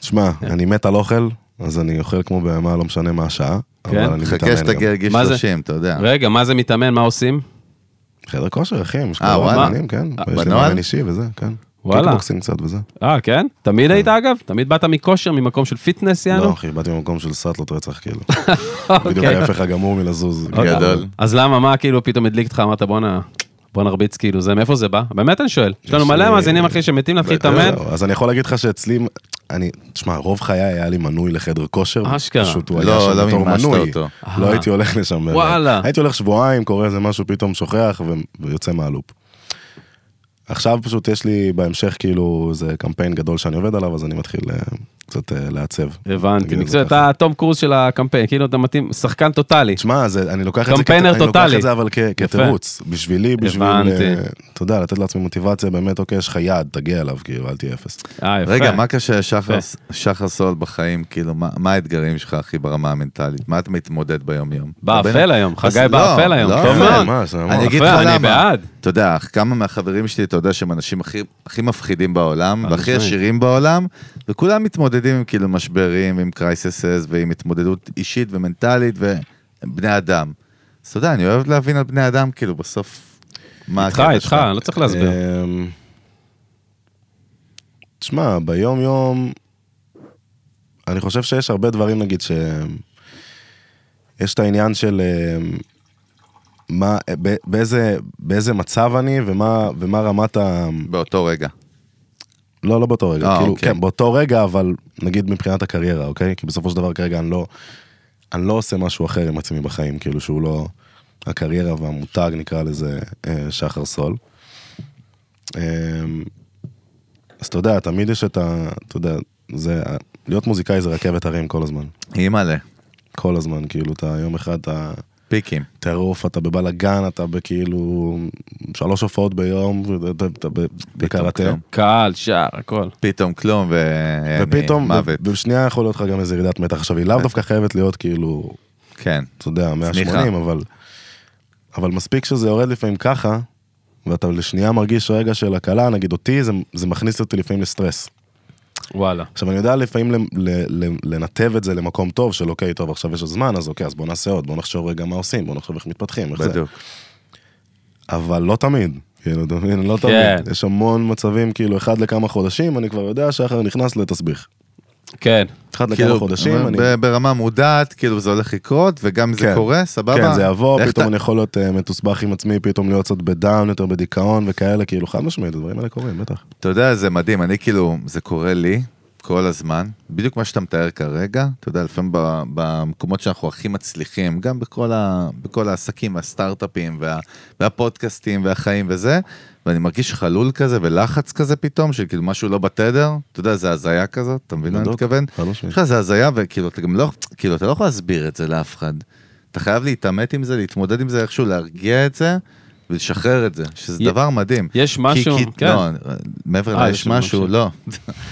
תשמע, אני מת על אוכל, אז אני אוכל כמו בהמה, לא משנה מה השעה. אבל
כן?
אני מתאמן
חכה
גם.
שתגיע לגיל
מה זה?
30, אתה יודע.
רגע, מה זה מתאמן? מה עושים?
חדר כושר, אחי, עם
אה, וואלה.
מאמנים, כן. יש לי
בנוהל?
מאמן אישי וזה, כן.
וואלה.
קיקבוקסים קצת וזה.
אה, כן? תמיד היית אגב? תמיד באת מכושר, ממקום של פיטנס,
לא,
יענו?
אחי, באתי ממקום של סאטלות רצח, כאילו.
(laughs)
לא,
בדיוק
אוקיי.
ההפך הגמור מלזוז.
אוקיי. גדול.
אז למה, מה כאילו פתאום הדליק אותך, אמרת בואנה, בוא נרביץ כאילו זה, מאיפה זה בא? באמת אני שואל. יש לנו
יש
מלא
לי-
מאזינים אחי שמתים להתחיל להתאמן.
זהו, אז אני יכול להגיד לך שאצלי, אני, תשמע, רוב חיי היה לי מנוי לחדר כושר.
אשכרה. אה.
פשוט הוא היה
לא,
שם
לא
בתור
מימשת
מנוי.
אותו.
לא הייתי הולך לשם. באמת.
וואלה.
הייתי הולך שבועיים, קורא איזה משהו, פתאום שוכח ו- ויוצא מהלופ. עכשיו פשוט יש לי בהמשך כאילו איזה קמפיין גדול שאני עובד עליו, אז אני מתחיל אה, קצת אה, לעצב. נגיד
הבנתי,
את זה
מקצוע,
ככה.
אתה תום קרוז של הקמפיין, כאילו אתה מתאים, שחקן טוטאלי.
תשמע, זה- אני לוקח את זה כ-
קמפיינר
אני לוקח
טוטאלי.
את זה אבל כ- כתירוץ. בשבילי, בשביל...
הבנתי.
אה, אתה יודע, לתת לעצמי מוטיבציה, באמת, אוקיי, יש לך יעד, תגיע אליו, כאילו, אל תהיה אפס.
אה, יפה.
רגע, מה קשה לשחר שחר סול בחיים? כאילו, מה מה האתגרים שלך, אחי, ברמה המנטלית? מה אתה מתמודד ביום-יום?
באפל
הרבה-
היום, חגי
אז-
באפל
לא,
היום,
לא
טוב
אפל.
מאוד.
ממש, ממש.
אני אגיד לך
אפל, אני
למה.
בעד.
אתה יודע, כמה מהחברים שלי, אתה יודע שהם אנשים הכי- הכי מפחידים בעולם,
חד
והכי
משמעית.
עשירים בעולם, וכולם מתמודדים עם כאילו משברים, עם קרייססס, ועם התמודדות אישית ומנטלית, ובני אדם. אז אתה יודע, אני אוהב להבין על בני אדם, כאילו, בסוף... מה
איתך,
הקטע
איתך,
שלך. אה.
לא צריך להסביר.
אמ, תשמע, ביום יום, אני חושב שיש הרבה דברים, נגיד, ש... יש את העניין של אמ, מה, ב- באיזה, באיזה מצב אני ומה, ומה רמת ה...
באותו רגע.
לא, לא באותו רגע,
אה,
כאילו,
אוקיי.
כן, באותו רגע, אבל נגיד מבחינת הקריירה, אוקיי? כי בסופו של דבר כרגע אני לא, אני לא עושה משהו אחר עם עצמי בחיים, כאילו שהוא לא הקריירה והמותג, נקרא לזה, אה, שחר סול. אה, אז אתה יודע, תמיד יש את ה... אתה יודע, זה... להיות מוזיקאי זה רכבת הרים כל הזמן.
אימא'לה,
כל הזמן, כאילו, אתה יום אחד אתה...
פיקים.
טירוף, אתה בבלאגן, אתה בכאילו שלוש הופעות ביום, ואתה- אתה ב- בקראטה.
כלום.
קהל, שער, הכל.
פתאום כלום, ו... אני-
ופתאום,
כן, מוות.
ב- בשנייה יכול להיות לך גם איזה ירידת מתח. עכשיו, היא לאו דווקא חייבת להיות כאילו,
כן.
אתה יודע, 180, אבל... אבל מספיק שזה יורד לפעמים ככה, ואתה לשנייה מרגיש רגע של הקלה, נגיד אותי, זה, זה מכניס אותי לפעמים לסטרס.
וואלה.
עכשיו, אני יודע לפעמים ל, ל, ל, לנתב את זה למקום טוב, של אוקיי, טוב, עכשיו יש עוד זמן, אז אוקיי, אז בוא נעשה עוד, בוא נחשוב רגע מה עושים, בוא נחשוב איך מתפתחים, איך זה.
בדיוק.
אבל לא תמיד. כאילו, אתה מבין? לא
כן.
תמיד. יש המון מצבים, כאילו, אחד לכמה חודשים, אני כבר יודע שחר נכנס לתסביך.
כן.
אחד לכמה
כאילו,
חודשים, אני...
ב- ברמה מודעת, כאילו זה הולך לקרות, וגם אם זה
כן.
קורה, סבבה?
כן, זה יבוא,
איך
פתאום
אתה-
אני יכול להיות אה, מתוסבך עם עצמי, פתאום להיות קצת בדאון, יותר בדיכאון וכאלה, כאילו חד משמעית, הדברים האלה קורים, בטח.
אתה יודע, זה מדהים, אני כאילו, זה קורה לי כל הזמן, בדיוק מה שאתה מתאר כרגע, אתה יודע, לפעמים ב- במקומות שאנחנו הכי מצליחים, גם בכל, ה, בכל העסקים והסטארט-אפים וה, והפודקאסטים והחיים וזה, ואני מרגיש חלול כזה ולחץ כזה פתאום, של כאילו משהו לא בתדר, אתה יודע, זה הזיה כזאת, אתה מבין מה אני
בדיוק,
מתכוון?
חד
לא
יש
משמעית.
לך איזה הזיה, וכאילו, אתה גם לא, כאילו, אתה לא יכול להסביר את זה לאף אחד. אתה חייב להתעמת עם זה, להתמודד עם זה איכשהו, להרגיע את זה. ולשחרר את זה, שזה
י-
דבר מדהים.
יש
כי-
משהו-
כי-
כן.
לא, מעבר
אה,
ליש
יש
משהו,
משהו.
לא.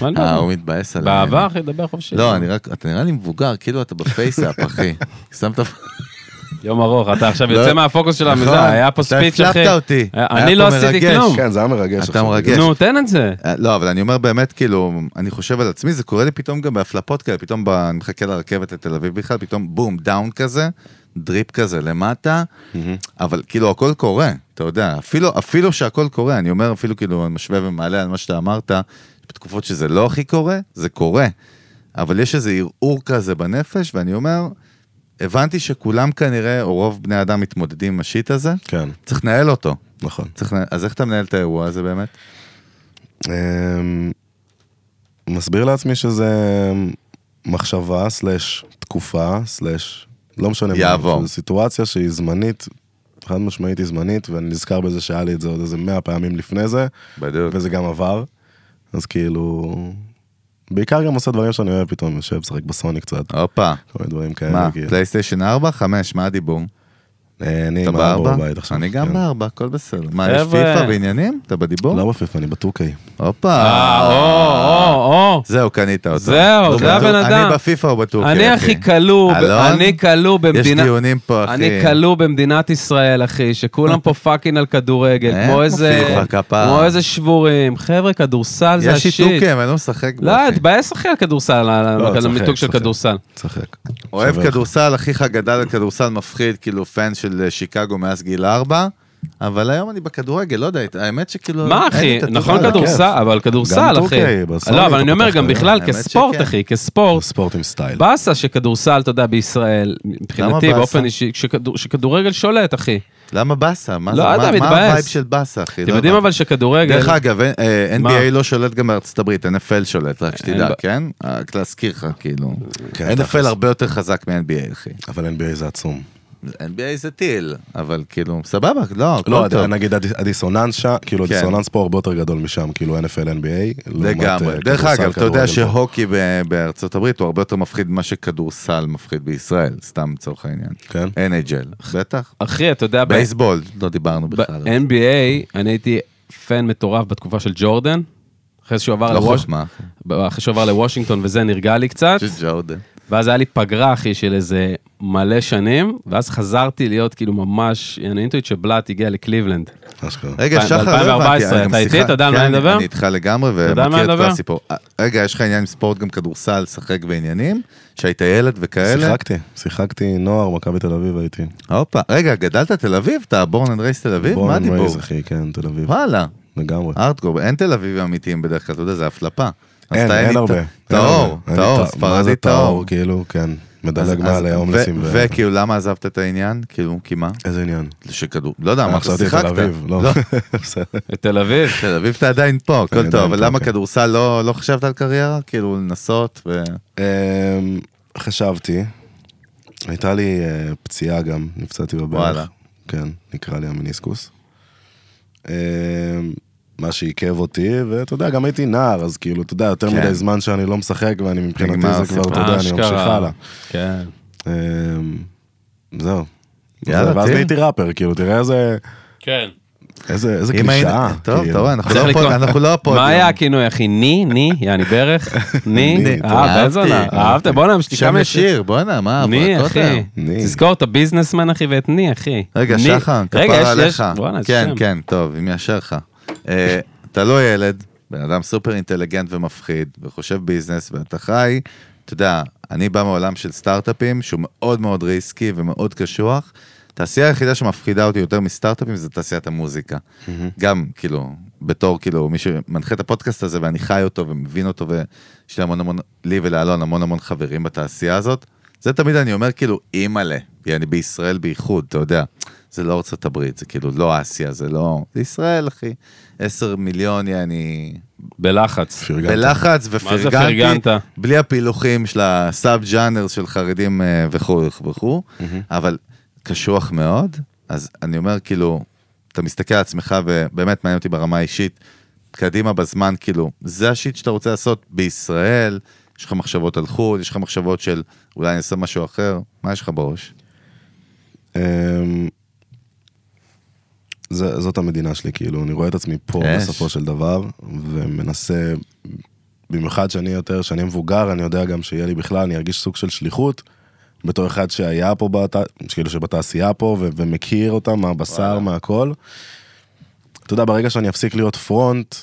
מה לא?
(laughs) אה, הוא מתבאס עליי.
בעבר, אחי, דבר חופשי.
לא, אני רק, אתה נראה לי מבוגר, כאילו אתה בפייסאפ,
(laughs)
אחי. שמת...
יום ארוך, אתה עכשיו
לא.
יוצא מהפוקוס של
נכון,
המזה, היה פה
אתה
ספיץ'
הפלפת
אחי.
אותי. היה
אני
פה
לא עשיתי
מרגש.
כלום.
כן, זה היה מרגש.
אתה
עכשיו.
מרגש.
נו, תן את זה.
אה, לא, אבל אני אומר באמת, כאילו, אני חושב על עצמי, זה קורה לי פתאום גם בהפלפות כאלה, פתאום ב... אני מחכה לרכבת לתל אביב בכלל, פתאום בום, דאון כזה, דריפ כזה למטה, אבל כאילו הכל קורה, אתה יודע, אפילו, אפילו שהכל קורה, אני אומר אפילו כאילו, אני משווה ומעלה על מה שאתה אמרת, בתקופות שזה לא הכי קורה, זה קורה. אבל יש איזה ערעור כזה בנפש, ואני אומר, הבנתי שכולם כנראה, או רוב בני האדם מתמודדים עם השיט הזה,
כן,
צריך לנהל אותו.
נכון.
צריך לנהל, אז איך אתה מנהל את האירוע הזה באמת?
אמ, מסביר לעצמי שזה אמ, מחשבה, סלאש תקופה, סלאש לא משנה מה.
יעבור.
זו סיטואציה שהיא זמנית, חד משמעית היא זמנית, ואני נזכר בזה שהיה לי את זה עוד איזה מאה פעמים לפני זה,
בדיוק.
וזה גם עבר. אז כאילו... בעיקר גם עושה דברים שאני אוהב פתאום, יושב, משחק בסוני קצת,
הופה,
כל מיני דברים כאלה.
מה,
כאילו.
פלייסטיישן 4? 5, מה הדיבור?
אה, אני
אתה
עם הארבע
בארבע?
בבית עכשיו.
אני גם
כן.
בארבע, הכל בסדר. מה, יש
חבר'ה.
פיפא בעניינים? אתה בדיבור?
לא בפיפא, אני בטוקיי.
הופה.
אה, או, או, או.
זהו, קנית אותו.
זהו,
הוא
זה
בטור-
הבן אדם.
אני בפיפא הוא בטורקי,
אני הכי כלוא, ב-
אלון?
אני כלוא
יש
במדינה...
דיונים פה, אחי.
אני כלוא במדינת ישראל, אחי, שכולם פה פאקינג על כדורגל,
אה,
כמו
כמו
איזה...
פיפ"א, כפרה.
כמו איזה שבורים. חבר'ה, כדורסל זה
יש
השיט.
שיתוקים, אני לא משחק בו.
לא,
אחי.
תתבאס אחי על כדורסל, על-
לא,
על
צוחק,
המיתוג של
צוחק.
כדורסל.
צחק.
אוהב
שווה לך.
כדורסל, אחיך גדל על כדורסל מפחיד, כאילו פן של אה, שיקגו מאז גיל ארבע, אבל היום אני בכדורגל, לא יודע, האמת שכאילו...
מה
אין לי
אחי,
את הטובה
נכון
הזאת.
כדור-
כדורסל, אבל
גם
כדורסל אחי.
טורקי, בסדר,
לא, אבל אני אומר
פתח
גם
את העניין.
בכלל
האמת
כספורט
שכן.
אחי, כספורט.
ספורט עם סטייל.
באסה שכדורסל, אתה יודע, בישראל, מבחינתי,
באסה? לא
באופן אישי, כשכדור- שכדורגל שולט אחי.
למה באסה? מה זה-
לא יודע,
מה- מה
מתבאס.
הווייב של באסה, אחי?
אתם
לא
יודעים
הבנתי.
אבל שכדורגל...
דרך אגב, אה, אה,
מה?
NBA לא שולט גם בארצות הברית, NFL שולט, רק
ב-
שתדע, כן? רק להזכיר לך, כאילו.
כן,
NFL
תכלס.
הרבה יותר חזק מ-NBA, אחי.
אבל NBA זה עצום.
NBA זה טיל, אבל כאילו, סבבה, לא,
לא,
הכל
הד-
טוב.
נגיד הד- הדיסוננס שם, כאילו
כן.
הדיסוננס פה הרבה יותר גדול משם, כאילו NFL NBA. לעומת,
לגמרי.
אה,
דרך
כדורסל,
אגב, אתה
כדורגל פה.
יודע שהוקי ב- בארצות הברית הוא הרבה יותר מפחיד ממה שכדורסל מפחיד בישראל, סתם
(laughs)
לצורך העניין.
כן.
NHL, בטח.
אחי, אתה יודע, ב-
בייסבול, לא דיברנו בכלל.
ב-NBA, אני הייתי פן מטורף בתקופה של ג'ורדן. אחרי שהוא עבר
לא
לוואש-
חוכמה.
(laughs)
אחרי שהוא עבר לוושינגטון וזה נרגע לי קצת,
ג'ורדן.
ואז היה לי פגרה אחי של איזה מלא שנים, ואז חזרתי להיות כאילו ממש, אני אינטואיט שבלאט הגיע לקליבלנד.
אשכרה.
רגע,
ב-
שחר, לא הבנתי.
ב- 2014,
אני גם
אתה איתי?
שיחה-
אתה יודע על מה
כן,
אני מדבר?
אני איתך לגמרי
יודע על מה
ומכיר
אני
את כל
מדבר?
הסיפור. אה, רגע, יש לך עניין עם ספורט, גם כדורסל, שחק בעניינים, שהיית ילד וכאלה.
שיחקתי, שיחקתי נוער, מכבי תל אביב הייתי.
הופה, רגע, גדלת תל אביב? אתה בורן אנד רייס תל אביב?
בורן
אה, מה
אנד
הדיבור?
רייז, אחי, כן, תל אביב.
וואלה,
לגמרי.
ארטקור, אין תל אביב אמיתיים בדרך כלל, אתה יודע, זה הפלפה. אז
אין,
אתה
אין הרבה. אין
טהור,
הרבה. אני טה-
טהור,
מה זה
ספרדי טהור.
כאילו, כן.
אז-
מדלג
אז-
מעל ההומלסים.
ו-
ו-
וכאילו, למה עזבת את העניין? כאילו, כי מה?
איזה עניין.
שכדור, לא יודע, מה,
חשבתי תל אביב, לא. (laughs) בסדר.
את תל אביב.
תל אביב אתה עדיין פה, הכל
עדיין
טוב,
פה,
אבל למה
כן.
כדורסל לא לא חשבת על קריירה? כאילו, לנסות ו...
אמ, חשבתי, הייתה לי אה, פציעה גם, נפצעתי בברך.
וואלה.
כן, נקרא לי המיניסקוס. אמ, מה שעיכב אותי, ואתה יודע, גם הייתי נער, אז כאילו, אתה יודע, יותר
כן.
מדי זמן שאני לא משחק, ואני מבחינתי
נגמר
זה כבר,
הסיפור.
אתה יודע, אני ממשיך
אשכרה.
הלאה.
כן.
אמ, זהו.
יאללה,
ואז
טיל.
נהייתי ראפר, כאילו, תראה איזה...
כן.
איזה איזה
אם היינו-
קלישאה.
טוב,
כאילו.
טוב, אנחנו
צריך
לא
לקרוא-
פה, אנחנו לא פה.
מה היה הכינוי אחי? ני? ני? יעני
(laughs)
ברך? ני?
ני,
אה, בן זונה.
אהבתי.
אהבת? בוא'נה, נמשיך
שם אה, ישיר, בואנה, מה,
ני,
הברקות
אחי.
היום.
ני.
תזכור את הביזנסמן, אחי, ואת ני, אחי.
רגע,
ני.
שחר,
רגע, יש-
כפרה עליך.
יש- בואנה, איזה
כן,
שם.
כן, טוב, אם יאשר לך. אה, אתה לא ילד, בן אדם סופר אינטליגנט ומפחיד, וחושב ביזנס, ואתה חי, אתה יודע, אני בא מעולם של סטארט-אפים, שהוא מאוד מאוד ריסקי ומאוד קשוח. התעשייה היחידה שמפחידה אותי יותר מסטארט-אפים זה תעשיית המוזיקה. גם, כאילו, בתור, כאילו, מי שמנחה את הפודקאסט הזה, ואני חי אותו ומבין אותו, ויש לי המון המון, לי ולאלון המון המון חברים בתעשייה הזאת. זה תמיד אני אומר, כאילו, אימא'לה, אני בישראל בייחוד, אתה יודע. זה לא ארצות הברית, זה כאילו לא אסיה, זה לא... זה ישראל, אחי. עשר מיליון, יעני...
בלחץ.
פרגנתי.
בלחץ
מה זה
ופרגנתי.
פרגנת?
בלי הפילוחים של הסאב ג'אנר של חרדים אה, וכו' וכו', אבל קשוח מאוד, אז אני אומר, כאילו, אתה מסתכל על עצמך, ובאמת מעניין אותי ברמה האישית, קדימה בזמן, כאילו, זה השיט שאתה רוצה לעשות בישראל, יש לך מחשבות על חו"ל, יש לך מחשבות של אולי אני אעשה משהו אחר, מה יש לך בראש?
אמ, זה, זאת המדינה שלי, כאילו, אני רואה את עצמי פה
אש.
בסופו של דבר, ומנסה, במיוחד שאני יותר, שאני מבוגר, אני יודע גם שיהיה לי בכלל, אני ארגיש סוג של שליחות, בתור אחד שהיה פה, בת... כאילו שבתעשייה פה, ו- ומכיר אותה מהבשר, מהכל. אתה יודע, ברגע שאני אפסיק להיות פרונט,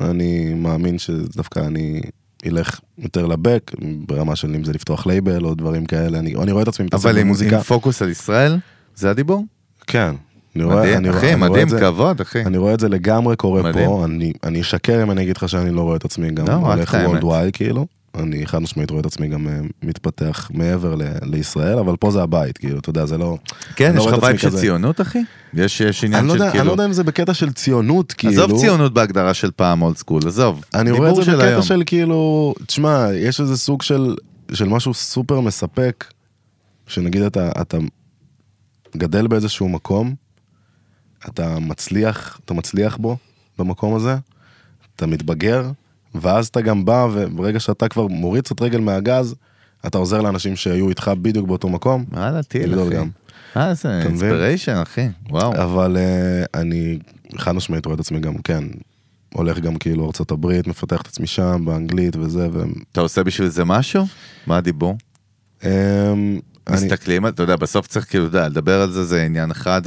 אני מאמין שדווקא אני אלך יותר לבק, ברמה של אם זה לפתוח לייבל או דברים כאלה, אני, אני רואה את עצמי מתעסק
אבל עם,
במוזיקה.
עם פוקוס על ישראל, זה הדיבור?
כן, אני רואה- אני
מדהים,
רואה-
אחי,
אני רואה
מדהים,
את זה-
כבוד, אחי.
אני רואה את זה לגמרי קורה
מדהים.
פה, אני- אני אשקר אם אני אגיד לך שאני לא רואה את עצמי גם
לא, רק
הולך
את האמת.
וולד וואי כאילו, אני חד משמעית רואה את עצמי גם אה, מתפתח מעבר ל- לישראל, אבל פה זה הבית, כאילו, אתה יודע, זה לא...
כן,
אני לא
יש
רואה את
לך וייב
עצמי
של
כזה.
ציונות, אחי? יש יש
אני
עניין
לא
של
יודע- אני לא
כאילו...
יודע אם זה בקטע של ציונות, כאילו...
עזוב ציונות בהגדרה של פעם אולד סקול, עזוב.
אני רואה את
דיבור
זה
של
בקטע
היום.
של כאילו, תשמע, יש איזה סוג של, של משהו סופר מספק, שנגיד אתה, אתה גדל באיזשהו מקום, אתה מצליח, אתה מצליח בו, במקום הזה, אתה מתבגר, ואז אתה גם בא, וברגע שאתה כבר מוריד קצת רגל מהגז, אתה עוזר לאנשים שהיו איתך בדיוק באותו מקום.
וואלה, טיל,
לגדול
אחי.
גם.
אה, זה
לא אתה מבין?
אינספיריישן, אחי. וואו.
אבל אה, אני חד משמעית רואה את עצמי גם, כן, הולך גם כאילו ארצות הברית, מפתח את עצמי שם, באנגלית וזה, ו...
אתה עושה בשביל זה משהו? מה הדיבור?
אמ, אני-
מסתכלים, על- אתה יודע, בסוף צריך כאילו, אתה יודע, לדבר על זה זה עניין אחד,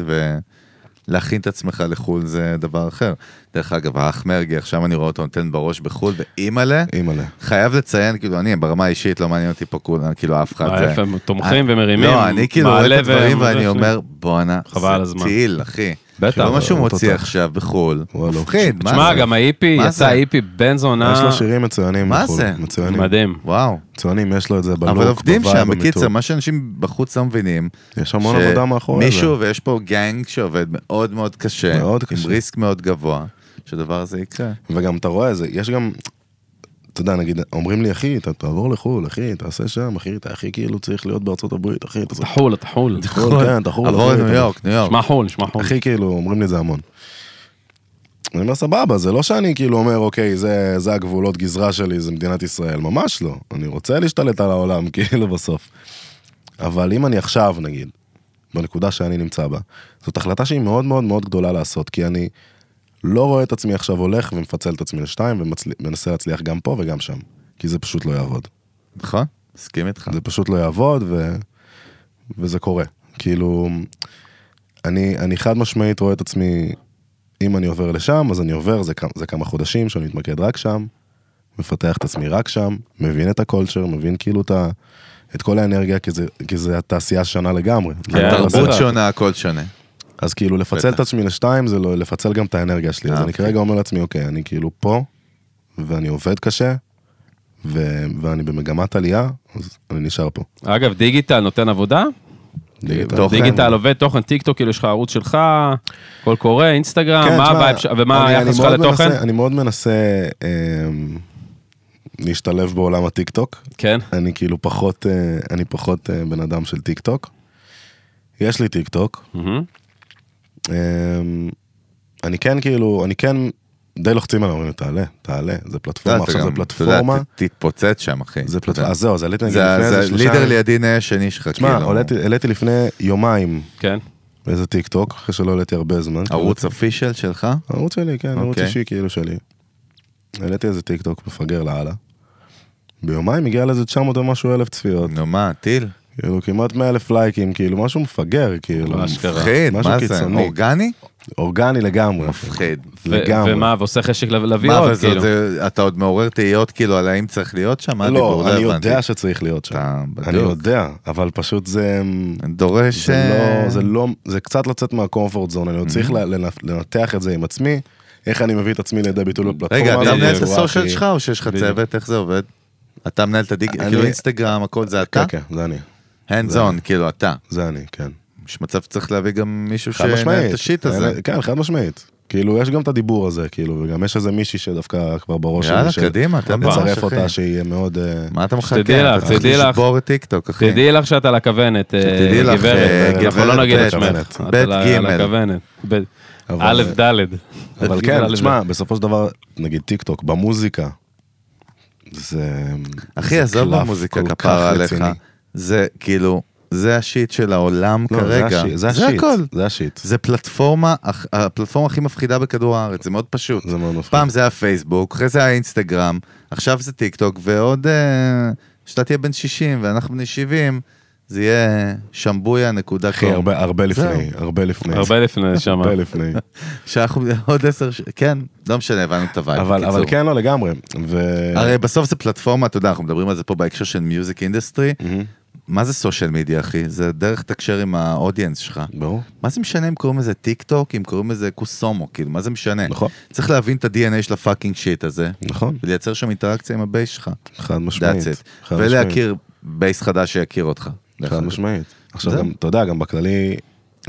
ולהכין את עצמך לחו"ל זה דבר אחר. דרך אגב, האח מרגי, עכשיו אני רואה אותו נותן בראש בחו"ל, ואימא'לה,
אימא'לה.
חייב לציין, כאילו, אני, ברמה האישית, לא מעניין אותי פה כולם, כאילו, אף אחד.
להפך,
זה-
הם תומכים
אני-
ומרימים,
לא, אני כאילו רואה
מעלה
את הדברים
ו-
ואני אומר, בואנה,
חבל על
זה
הזמן."
טיל, אחי.
בטח.
לא מה שהוא
אותו
מוציא
טוב.
עכשיו בחו"ל,
וואלה.
מפחיד, מה זה?
תשמע, גם האיפי,
מה
יצא
זה?
איפי בן
יש
זונה,
לו שירים מצוינים.
מה
בחו"ל,
זה?
מצוינים.
מדהים.
וואו.
מצוינים, יש לו את זה בלוק,
אבל עובדים
בווייב,
שם,
במיתוג.
בקיצר, מה שאנשים בחוץ לא מבינים,
יש המון עבודה מאחורי זה.
מישהו, ויש פה גנג שעובד מאוד מאוד קשה,
מאוד
עם
קשה.
ריסק מאוד גבוה, שהדבר הזה יקרה.
וגם אתה רואה, זה, יש גם, אתה יודע, נגיד, אומרים לי, אחי, אתה תעבור לחו"ל, אחי, תעשה שם, אחי, אתה הכי כאילו צריך להיות בארצות הברית, אחי, אתה צריך...
תחול, תחול.
חו"ל, כן, אתה חו"ל,
עבור
אחי,
לניו
אתה-
יורק, ניו יורק.
שמע חול, שמע חול.
אחי, כאילו, אומרים לי את זה המון. אני אומר, סבבה, זה לא שאני כאילו אומר, אוקיי, זה, זה הגבולות גזרה שלי, זה מדינת ישראל, ממש לא. אני רוצה להשתלט על העולם, (laughs) כאילו, בסוף. אבל אם אני עכשיו, נגיד, בנקודה שאני נמצא בה, זאת החלטה שהיא מאוד מאוד מאוד גדולה לעשות, כי אני לא רואה את עצמי עכשיו הולך ומפצל את עצמי לשתיים ומנסה להצליח גם פה וגם שם, כי זה פשוט לא יעבוד.
נכון? מסכים איתך.
זה פשוט לא יעבוד ו... וזה קורה. כאילו, אני, אני חד משמעית רואה את עצמי, אם אני עובר לשם, אז אני עובר, זה, כמה- זה כמה חודשים שאני מתמקד רק שם, מפתח את עצמי רק שם, מבין את הקולצ'ר, מבין כאילו את, ה, את כל האנרגיה, כי זה, כי זה התעשייה שונה לגמרי.
כן,
תרבות
בטח.
שונה, הכל שונה.
אז כאילו לפצל
בטח.
את עצמי לשתיים זה לא לפצל גם את האנרגיה שלי, אז
אה,
אני
אוקיי.
כרגע אומר לעצמי, אוקיי, אני כאילו פה, ואני עובד קשה, ו- ואני במגמת עלייה, אז אני נשאר פה.
אגב, דיגיטל נותן עבודה?
דיגיטל.
תוכן.
דיגיטל עובד, תוכן טיק טוק, כאילו יש לך ערוץ שלך, קול קורא, אינסטגרם,
כן,
מה
תשמע,
הווייב ש- ומה
אני- אני
היחס שלך
מאוד
לתוכן?
מנסה- אני מאוד מנסה אמ, להשתלב בעולם הטיק טוק.
כן.
אני כאילו פחות, אה, אני פחות אה, בן אדם של טיק טוק. יש לי טיק טוק.
מהמם.
אמ, אני כן כאילו, אני כן, די לוחצים עליי, אומרים לי, תעלה, תעלה, זה פלטפורמה,
אתה
עכשיו זה
גם- אתה
פלטפורמה.
יודע, ת- תתפוצץ שם, אחי.
זה
אתה יודע.
פלטפורמה, אז זהו, אז עליתי נגיד
זה
לפני איזה
זה
שלושה...
לידר לידי נאה שני שלך, כאילו.
תשמע, העליתי- העליתי לפני יומיים
כן.
איזה טיק טוק, אחרי שלא העליתי הרבה זמן.
ערוץ אופישל שלך?
הערוץ שלי, כן, ערוץ
אוקיי.
אישי כאילו שלי. העליתי איזה טיק טוק מפגר לאללה. ביומיים הגיע לאיזה 900 ומשהו אלף צפיות.
נו מה, טיל?
כאילו כמעט 100 אלף לייקים, כאילו משהו מפגר, כאילו.
לא, אשכרה.
מפחיד,
משהו
מה זה?
קיצוני. אוקיי.
אורגני?
אורגני לגמרי.
מפחיד.
ו-
לגמרי.
ומה, ועושה חשק לב- להביא
מה, אבל
עוד,
זה-
כאילו.
זה- אתה עוד מעורר תהיות, כאילו, על האם צריך להיות שם? מה הדיבור?
לא, אני
הבנתי.
יודע שצריך להיות שם.
אתה
אני
בדיוק.
יודע, אבל פשוט זה...
דורש...
זה
אה,
לא, זה לא, זה קצת לצאת מהקומפורט זון, אני עוד צריך
Mhm.
ל- לנ- לנתח את זה עם עצמי, איך אני מביא את עצמי לידי ביטוי בפלטפורמה.
רגע, אתה
הזאת
מנהל את
בצורה
הסושיאל
הכי-
שלך או שיש לך
בדיוק.
צוות? איך זה עובד? אתה מנהל את הדיג...
אני-
כאילו אינסטגרם, הכל זה אתה?
כן, כן, זה אני,
hands on, כאילו אתה.
זה אני, כן.
יש מצב שצריך להביא גם מישהו
חד
שינהל
משמעית.
את השיט הזה.
אה, כן, חד משמעית. כאילו, יש גם את הדיבור הזה, כאילו, וגם יש איזה מישהי שדווקא כבר בראש
יאללה,
שלי,
קדימה, אתם בראש,
לצרף אותה,
אחי.
שהיא מאוד... אה,
מה אתה מחכה?
שתדעי לך,
אתה צריך
תדעי לך.
לשבור את טיקטוק, אחי.
תדעי לך שאת על הכוונת, אה,
שתדעי לך, אה,
גברת, אנחנו
גברת
לא נגיד
ב',
את שמך. את
ב',
על ה-
ג'.
על הכוונת. ב',
אבל-
א', ד'.
אבל
ג',
כן,
א',
תשמע, בסופו של דבר, נגיד טיק טוק, במוזיקה, זה...
אחי,
זה
עזוב
קלף
במוזיקה
כל כך
כפרה עליך.
רציני.
זה כאילו, זה השיט של העולם
לא, זה
כרגע.
השיט, זה
זה
השיט,
הכל.
זה השיט.
זה פלטפורמה, אח- הפלטפורמה הכי מפחידה בכדור הארץ, זה מאוד פשוט.
זה מאוד מפחיד.
פעם זה היה פייסבוק, אחרי זה היה אינסטגרם, עכשיו זה טיק טוק, ועוד אה, שאתה תהיה בן 60 ואנחנו בני 70, זה יהיה שמבויה נקודה
אחי,
קום.
הרבה- הרבה
זהו.
לפני, הרבה לפני.
הרבה לפני שם.
הרבה לפני.
(laughs) שאנחנו עוד עשר, ש- כן, לא משנה, הבנו את הווייב.
אבל
בקיצור.
אבל כן, לא לגמרי. ו... Mm-hmm.
הרי בסוף זה פלטפורמה, אתה יודע, אנחנו מדברים על זה פה בהקשר של מיוזיק אינדסטרי, מה זה סושיאל מדיה, אחי? זה דרך תקשר עם האודיאנס שלך.
ברור.
מה זה משנה אם קוראים לזה טיק טוק, אם קוראים לזה קוסומו, כאילו, מה זה משנה?
נכון.
צריך להבין את ה-DNA של הפאקינג שיט הזה,
נכון,
ולייצר שם אינטראקציה עם הבייס שלך.
חד משמעית.
That's it.
חד משמעית.
ולהכיר בייס חדש שיכיר אותך. דרך
חד
אגב.
משמעית. נכון. עכשיו
זהו.
גם, אתה יודע, גם בכללי,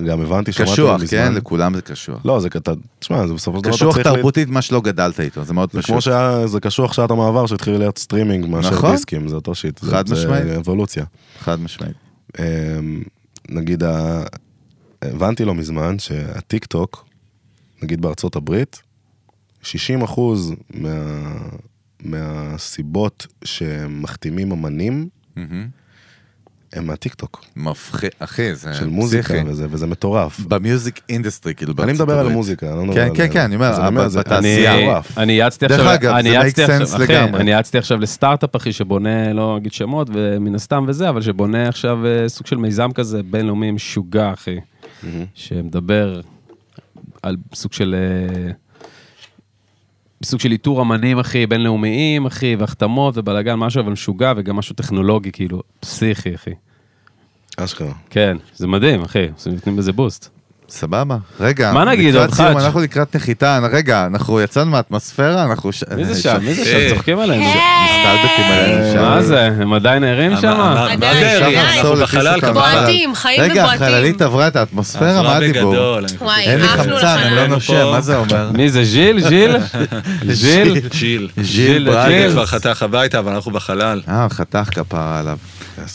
גם הבנתי שמעתי
קשוח,
מזמן-
כן? לכולם זה קשוח.
לא, זה אתה, תשמע, זה בסופו של דבר אתה
קשוח
צריך... ל-
תרבותית, מה שלא גדלת איתו, זה מאוד
זה
פשוט.
כמו שהיה, זה קשוח שעת המעבר שהתחיל להיות סטרימינג מאשר
נכון.
דיסקים, זה אותו שיט. זה-
חד
זה
משמעית.
אבולוציה.
חד משמעית.
אמ, נגיד, ה- הבנתי לא מזמן שהטיק טוק, נגיד בארצות הברית, 60 אחוז מה, מהסיבות שמחתימים אמנים הם מהטיק טוק,
מפחיד, אחי, זה
של מוזיקה
אה, פסיכי.
וזה, וזה מטורף.
במיוזיק אינדסטרי, כאילו,
אני
בארצות
מדבר על
הברית.
מוזיקה, אני לא מדבר
כן,
על...
כן, כן, אני אומר,
אז
אבל
זה-
אני
בתעשייה,
אני-
אני יעצתי
דרך
עכשיו,
אגב,
אני
זה
יעצתי
make sense
עכשיו, אחי,
לגמרי.
אני יעצתי עכשיו לסטארט-אפ אחי שבונה, לא אגיד שמות ומן הסתם וזה, אבל שבונה עכשיו אה, סוג של מיזם כזה בינלאומי משוגע אחי, שמדבר על סוג של... אה, סוג של איתור אמנים, אחי, בינלאומיים, אחי, והחתמות ובלאגן, משהו אבל משוגע, וגם משהו טכנולוגי, כאילו, פסיכי, אחי.
אשכרה.
כן, זה מדהים, אחי, עושים- נותנים בזה בוסט.
סבבה. רגע,
מה נגיד,
לקראת
עוד
סיום,
חאג'?
אנחנו לקראת נחיתה, רגע, אנחנו יצאנו מהאטמוספירה, אנחנו... ש-
מי זה שם? מי זה
אה,
שם? צוחקים עלינו.
מסתלבטים עלינו שם.
מה זה? הם עדיין ערים
אמר-
שם?
אמר-
עדיין,
מה זה,
עדיין.
אנחנו
נחזור
בחלל
לפיסיקה,
כבר.
בחלל.
בועטים, חיים
רגע,
בועטים.
החללית עברה את האטמוספירה, מה
עברה
הדיבור?
בגדול, אני
וואי,
אין לי
עפנו
חמצן, אני לא
עלינו
נושם,
פה.
מה זה אומר?
אה, מי זה? ז'יל?
(laughs)
ז'יל? ז'יל?
חושב. שיל.
ז'יל
זה
ברגל.
כבר חתך הביתה, אבל אנחנו בחלל.
אה, חתך כפרה עליו.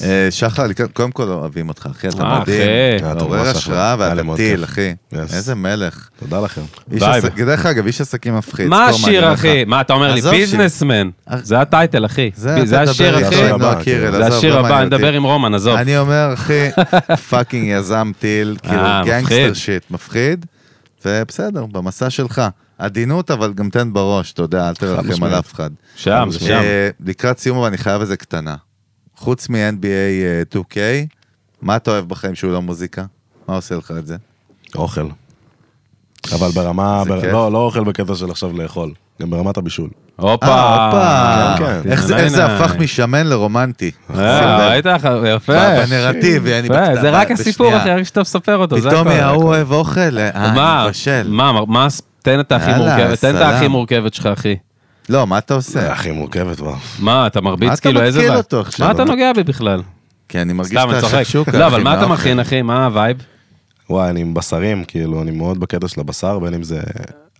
אה, שחר, לק- קודם כל אוהבים אותך, אחי, אתה
אה,
מדהים.
אחי.
אתה
מעורר
ממש
השראה
אחלה. היה
ואתה
לי מאוד
טיל,
כיף.
אחי.
Yes.
איזה מלך.
תודה לכם.
איש
ביי.
עסק- דרך אגב, איש עסקים מפחיד.
מה
זכור, אני
השיר
אומר
אחי?
לך.
מה אתה אומר לי?
עזוב שיר.
ביזנסמן.
אח-
זה הטייטל אחי.
זה,
ב-
אתה
זה
תדבר
השיר
איתו,
אחי.
השיר
עם נועה
הבא,
קירל,
כאילו.
זה
עזוב,
השיר
לא
הבא,
מעניין
אני
אותי.
אדבר עם רומן, עזוב.
אני אומר,
(laughs)
אחי, פאקינג יזם טיל, כאילו
אה,
גנגסטר
מפחיד.
שיט, מפחיד, ובסדר, במסע שלך. עדינות, אבל גם תן בראש, אתה יודע, אל תרחם על
משמעית.
אף אחד.
שם, זה שם.
אה, לקראת סיום, אבל אני חייב איזה קטנה. חוץ מ-NBA אה, 2K, מה אתה אוהב בחיים שהוא לא מוזיקה? מה עושה לך את זה?
אוכל. אבל ברמה,
זה
בר...
כיף.
לא, לא אוכל בקטע של עכשיו לאכול, גם ברמת הבישול.
הופה.
אה,
כן,
הופה!
כן.
איך זה-
הנה,
איך זה
הנה.
הפך משמן לרומנטי. שים לב.
אה, ראית? יפה.
בנרטיב, אני
יפה, זה
בקטנה,
רק הסיפור
בשנייה.
אחי, רק שאתה מספר אותו. זה
פתאום
הכל.
ההוא אוהב אוכל, אה,
מה?
אני מבשל.
מה? מה- מה? הס- תן את הכי
יאללה,
מורכבת, תן את
סלאם.
הכי מורכבת שלך אחי.
לא, מה אתה
זה
אה,
עושה?
הכי מורכבת, וואו.
מה, אתה
מה
מרביץ
אתה
כאילו איזה...
מתקיל
בעיה?
אותו עכשיו?
מה אתה נוגע בי בכלל?
כי אני מרגיש
סתם, אני
את אוקיי.
צוחק.
השקשוקה.
לא,
אחי,
אבל מה אתה
מהאוכל.
מכין אחי? מה הווייב?
וואי, אני עם בשרים, כאילו, אני מאוד בקטע של הבשר, בין אם זה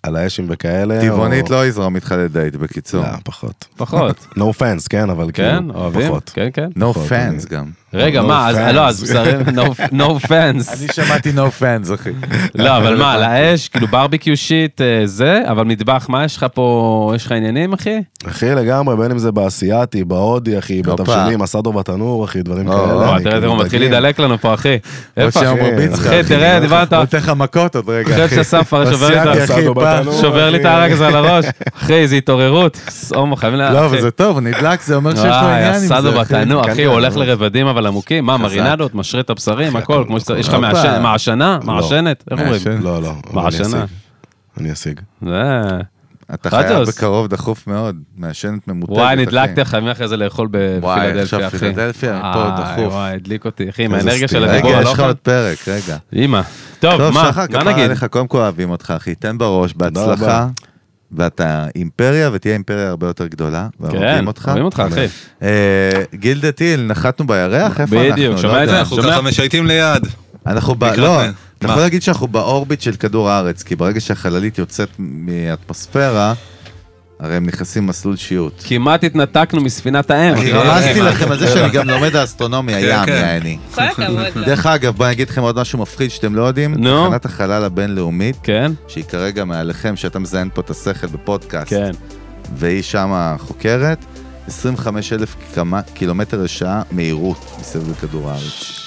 על האשים וכאלה.
טבעונית
או-
לא יזרום איתך לדייט, בקיצור.
לא, פחות.
(laughs)
פחות.
No offense, כן, אבל
כן?
כאילו,
אוהבים?
פחות.
כן, כן.
No
פחות,
fans גם.
רגע,
No
מה, אז,
offense.
לא, אז
(laughs)
בשרים, no- no
אני
fans.
שמעתי no fans, אחי.
לא, אבל מה, על האש, כאילו ברביקיו שיט, אה, זה, אבל מטבח, מה יש לך פה, יש לך עניינים,
לא,
אחי?
אחי, לגמרי, בין אם זה באסייתי, בהודי, אחי,
הופה.
בתבשילים, הסדו בתנור, אחי, דברים
או,
כאלה.
או,
וואי,
אני
תראה,
כאילו
תראה, הוא מתחיל
דגים.
להידלק לנו פה, אחי. איפה,
עוד שם
אחי?
הוא מרביץ לך,
אחי,
אחי. לא
תראה, דיברת,
הוא נותן לך מכות עוד רגע, אחי.
חושב שאסף הרי שובר לי את
אסיאתי,
ה-
אחי,
סעדו
פעם.
בתנור.
שובר לי את
אחי.
הרג הזה על הראש. אחי, איזה התעוררות. סומו, חייבים לה...
לא,
אחי.
אבל זה טוב, נדלק, זה אומר שיש לו
וואי,
עניין עם זה.
הסדו
אחי.
בתנור, אחי,
כנראה,
הוא הולך
אבל-
לרבדים אבל עמוקים, מה, מרינדות, משרה את הבשרים, הכל, כמו שאתה, יש לך
הופה.
מעשן- מעשנה, מעשנת, איך אומרים?
לא. מעשן.
לא, לא. אבל אני
מעשנה.
אשיג. אני אשיג.
זה...
אתה חייב
חג'וס.
בקרוב דחוף מאוד, מעשנת ממותגת.
וואי,
אחי.
נדלקתי עכשיו, אני אחרי זה לאכול
וואי,
בפילדלפיה, אחי.
עכשיו פילדלפיה, פה
איי,
דחוף.
וואי, הדליק אותי, אחי, עם
איזה
האנרגיה של
סטירה.
הדיבור
רגע,
על
יש לך
אוכל.
עוד פרק, רגע.
אימא. טוב,
טוב,
מה,
שחר,
מה
כפרה
נגיד?
עליך, קודם כל אוהבים אותך, אחי, תן בראש, בהצלחה.
רבה.
ואתה אימפריה, ותהיה אימפריה הרבה יותר גדולה,
כן,
ואוהבים אותך. אוקיי.
אוהבים אותך, אחי.
אה, גילדה טיל, נחתנו בירח? איפה אנחנו?
בדיוק,
לא
שומע
יודע.
את זה?
אנחנו
שומע?
ככה משייטים ליד.
אנחנו ב...
לקראת
לא,
מה?
אתה יכול להגיד שאנחנו באורביט של כדור הארץ, כי ברגע שהחללית יוצאת מהאטמוספירה, הרי הם נכנסים למסלול שיוט.
כמעט התנתקנו מספינת האם.
אני
אחי. כן,
רמזתי לכם על זה שאני גם לומד האסטרונומיה,
כן,
ים,
כן.
יעני.
כל הכבוד לא. לך.
דרך אגב, בוא אני אגיד לכם עוד משהו מפחיד שאתם לא יודעים.
נו.
תחנת החלל הבינלאומית,
כן,
שהיא כרגע מעליכם, שאתה מזיין פה את השכל בפודקאסט,
כן.
והיא שמה חוקרת, 25 אלף קילומטר לשעה מהירות מסביב לכדור הארץ.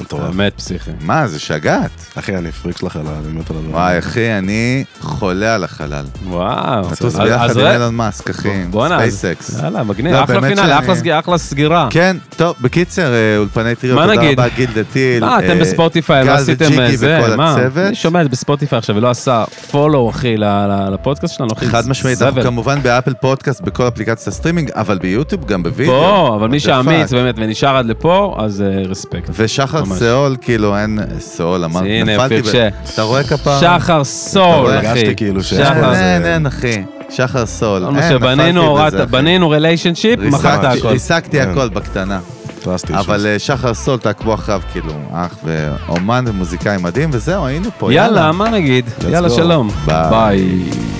מטורף.
באמת פסיכי.
מה, זה שגעת.
אחי, אני פריק של החלל, אני מת על
כן.
הדבר.
וואי, אחי, אני חולה על החלל.
וואו.
נטוס
אז-
ביחד
אז
עם
אולי-
אילון מאסק, אחי.
בואנה, אז-
ספייסקס.
יאללה, מגניב.
לא,
אחלה
באמת
פינאלה,
שאני-
אחלה סג- אחלה סגירה.
כן, טוב, בקיצר, אה, אולפני טריו,
מה
תודה
נגיד?
רבה, גילדה טיל.
אה, אתם
אה,
בספוטיפיי, לא
גל
עשיתם
וג'יגי
אה, זה,
וכל
מה?
הצוות.
אני שומע את בספוטיפיי עכשיו ולא עשה פולו, אחי, ל- ל- לפודקאסט שלנו, אחי.
חד משמעית, אנחנו
זבל.
כמובן באפל פודקאסט, בכל אפליקציות הסטרימינג, אבל ביוטיוב גם בווידאו.
פה, אבל מי
What the
שאמיץ
fuck.
באמת ונשאר עד לפה, אז אה, רספקט.
ושחר
ממש.
סאול, כאילו אין סאול, אמרתי,
הנה,
נפלתי.
אופיר,
ב-
ש-
אתה רואה כפרה?
שחר סול,
רואה,
אחי.
הרגשתי כאילו שיש
שחר.
פה
אין,
איזה-
אין, אין, אחי. שחר סאול.
כל
אין,
מה
נפלתי
שבנינו, הורדת-
בזה, אחי.
בנינו ריליישנשיפ, מכרת
ריסקתי-
הכל.
ריסקתי
כן.
הכל בקטנה.
טרסטי.
אבל אה, שחר סול, תעקבו אחריו, כאילו, אח ואומן ומוזיקאי מדהים, וזהו, היינו פה.
יאללה, מה נגיד? יאללה,
go.
שלום.
ביי.
ביי.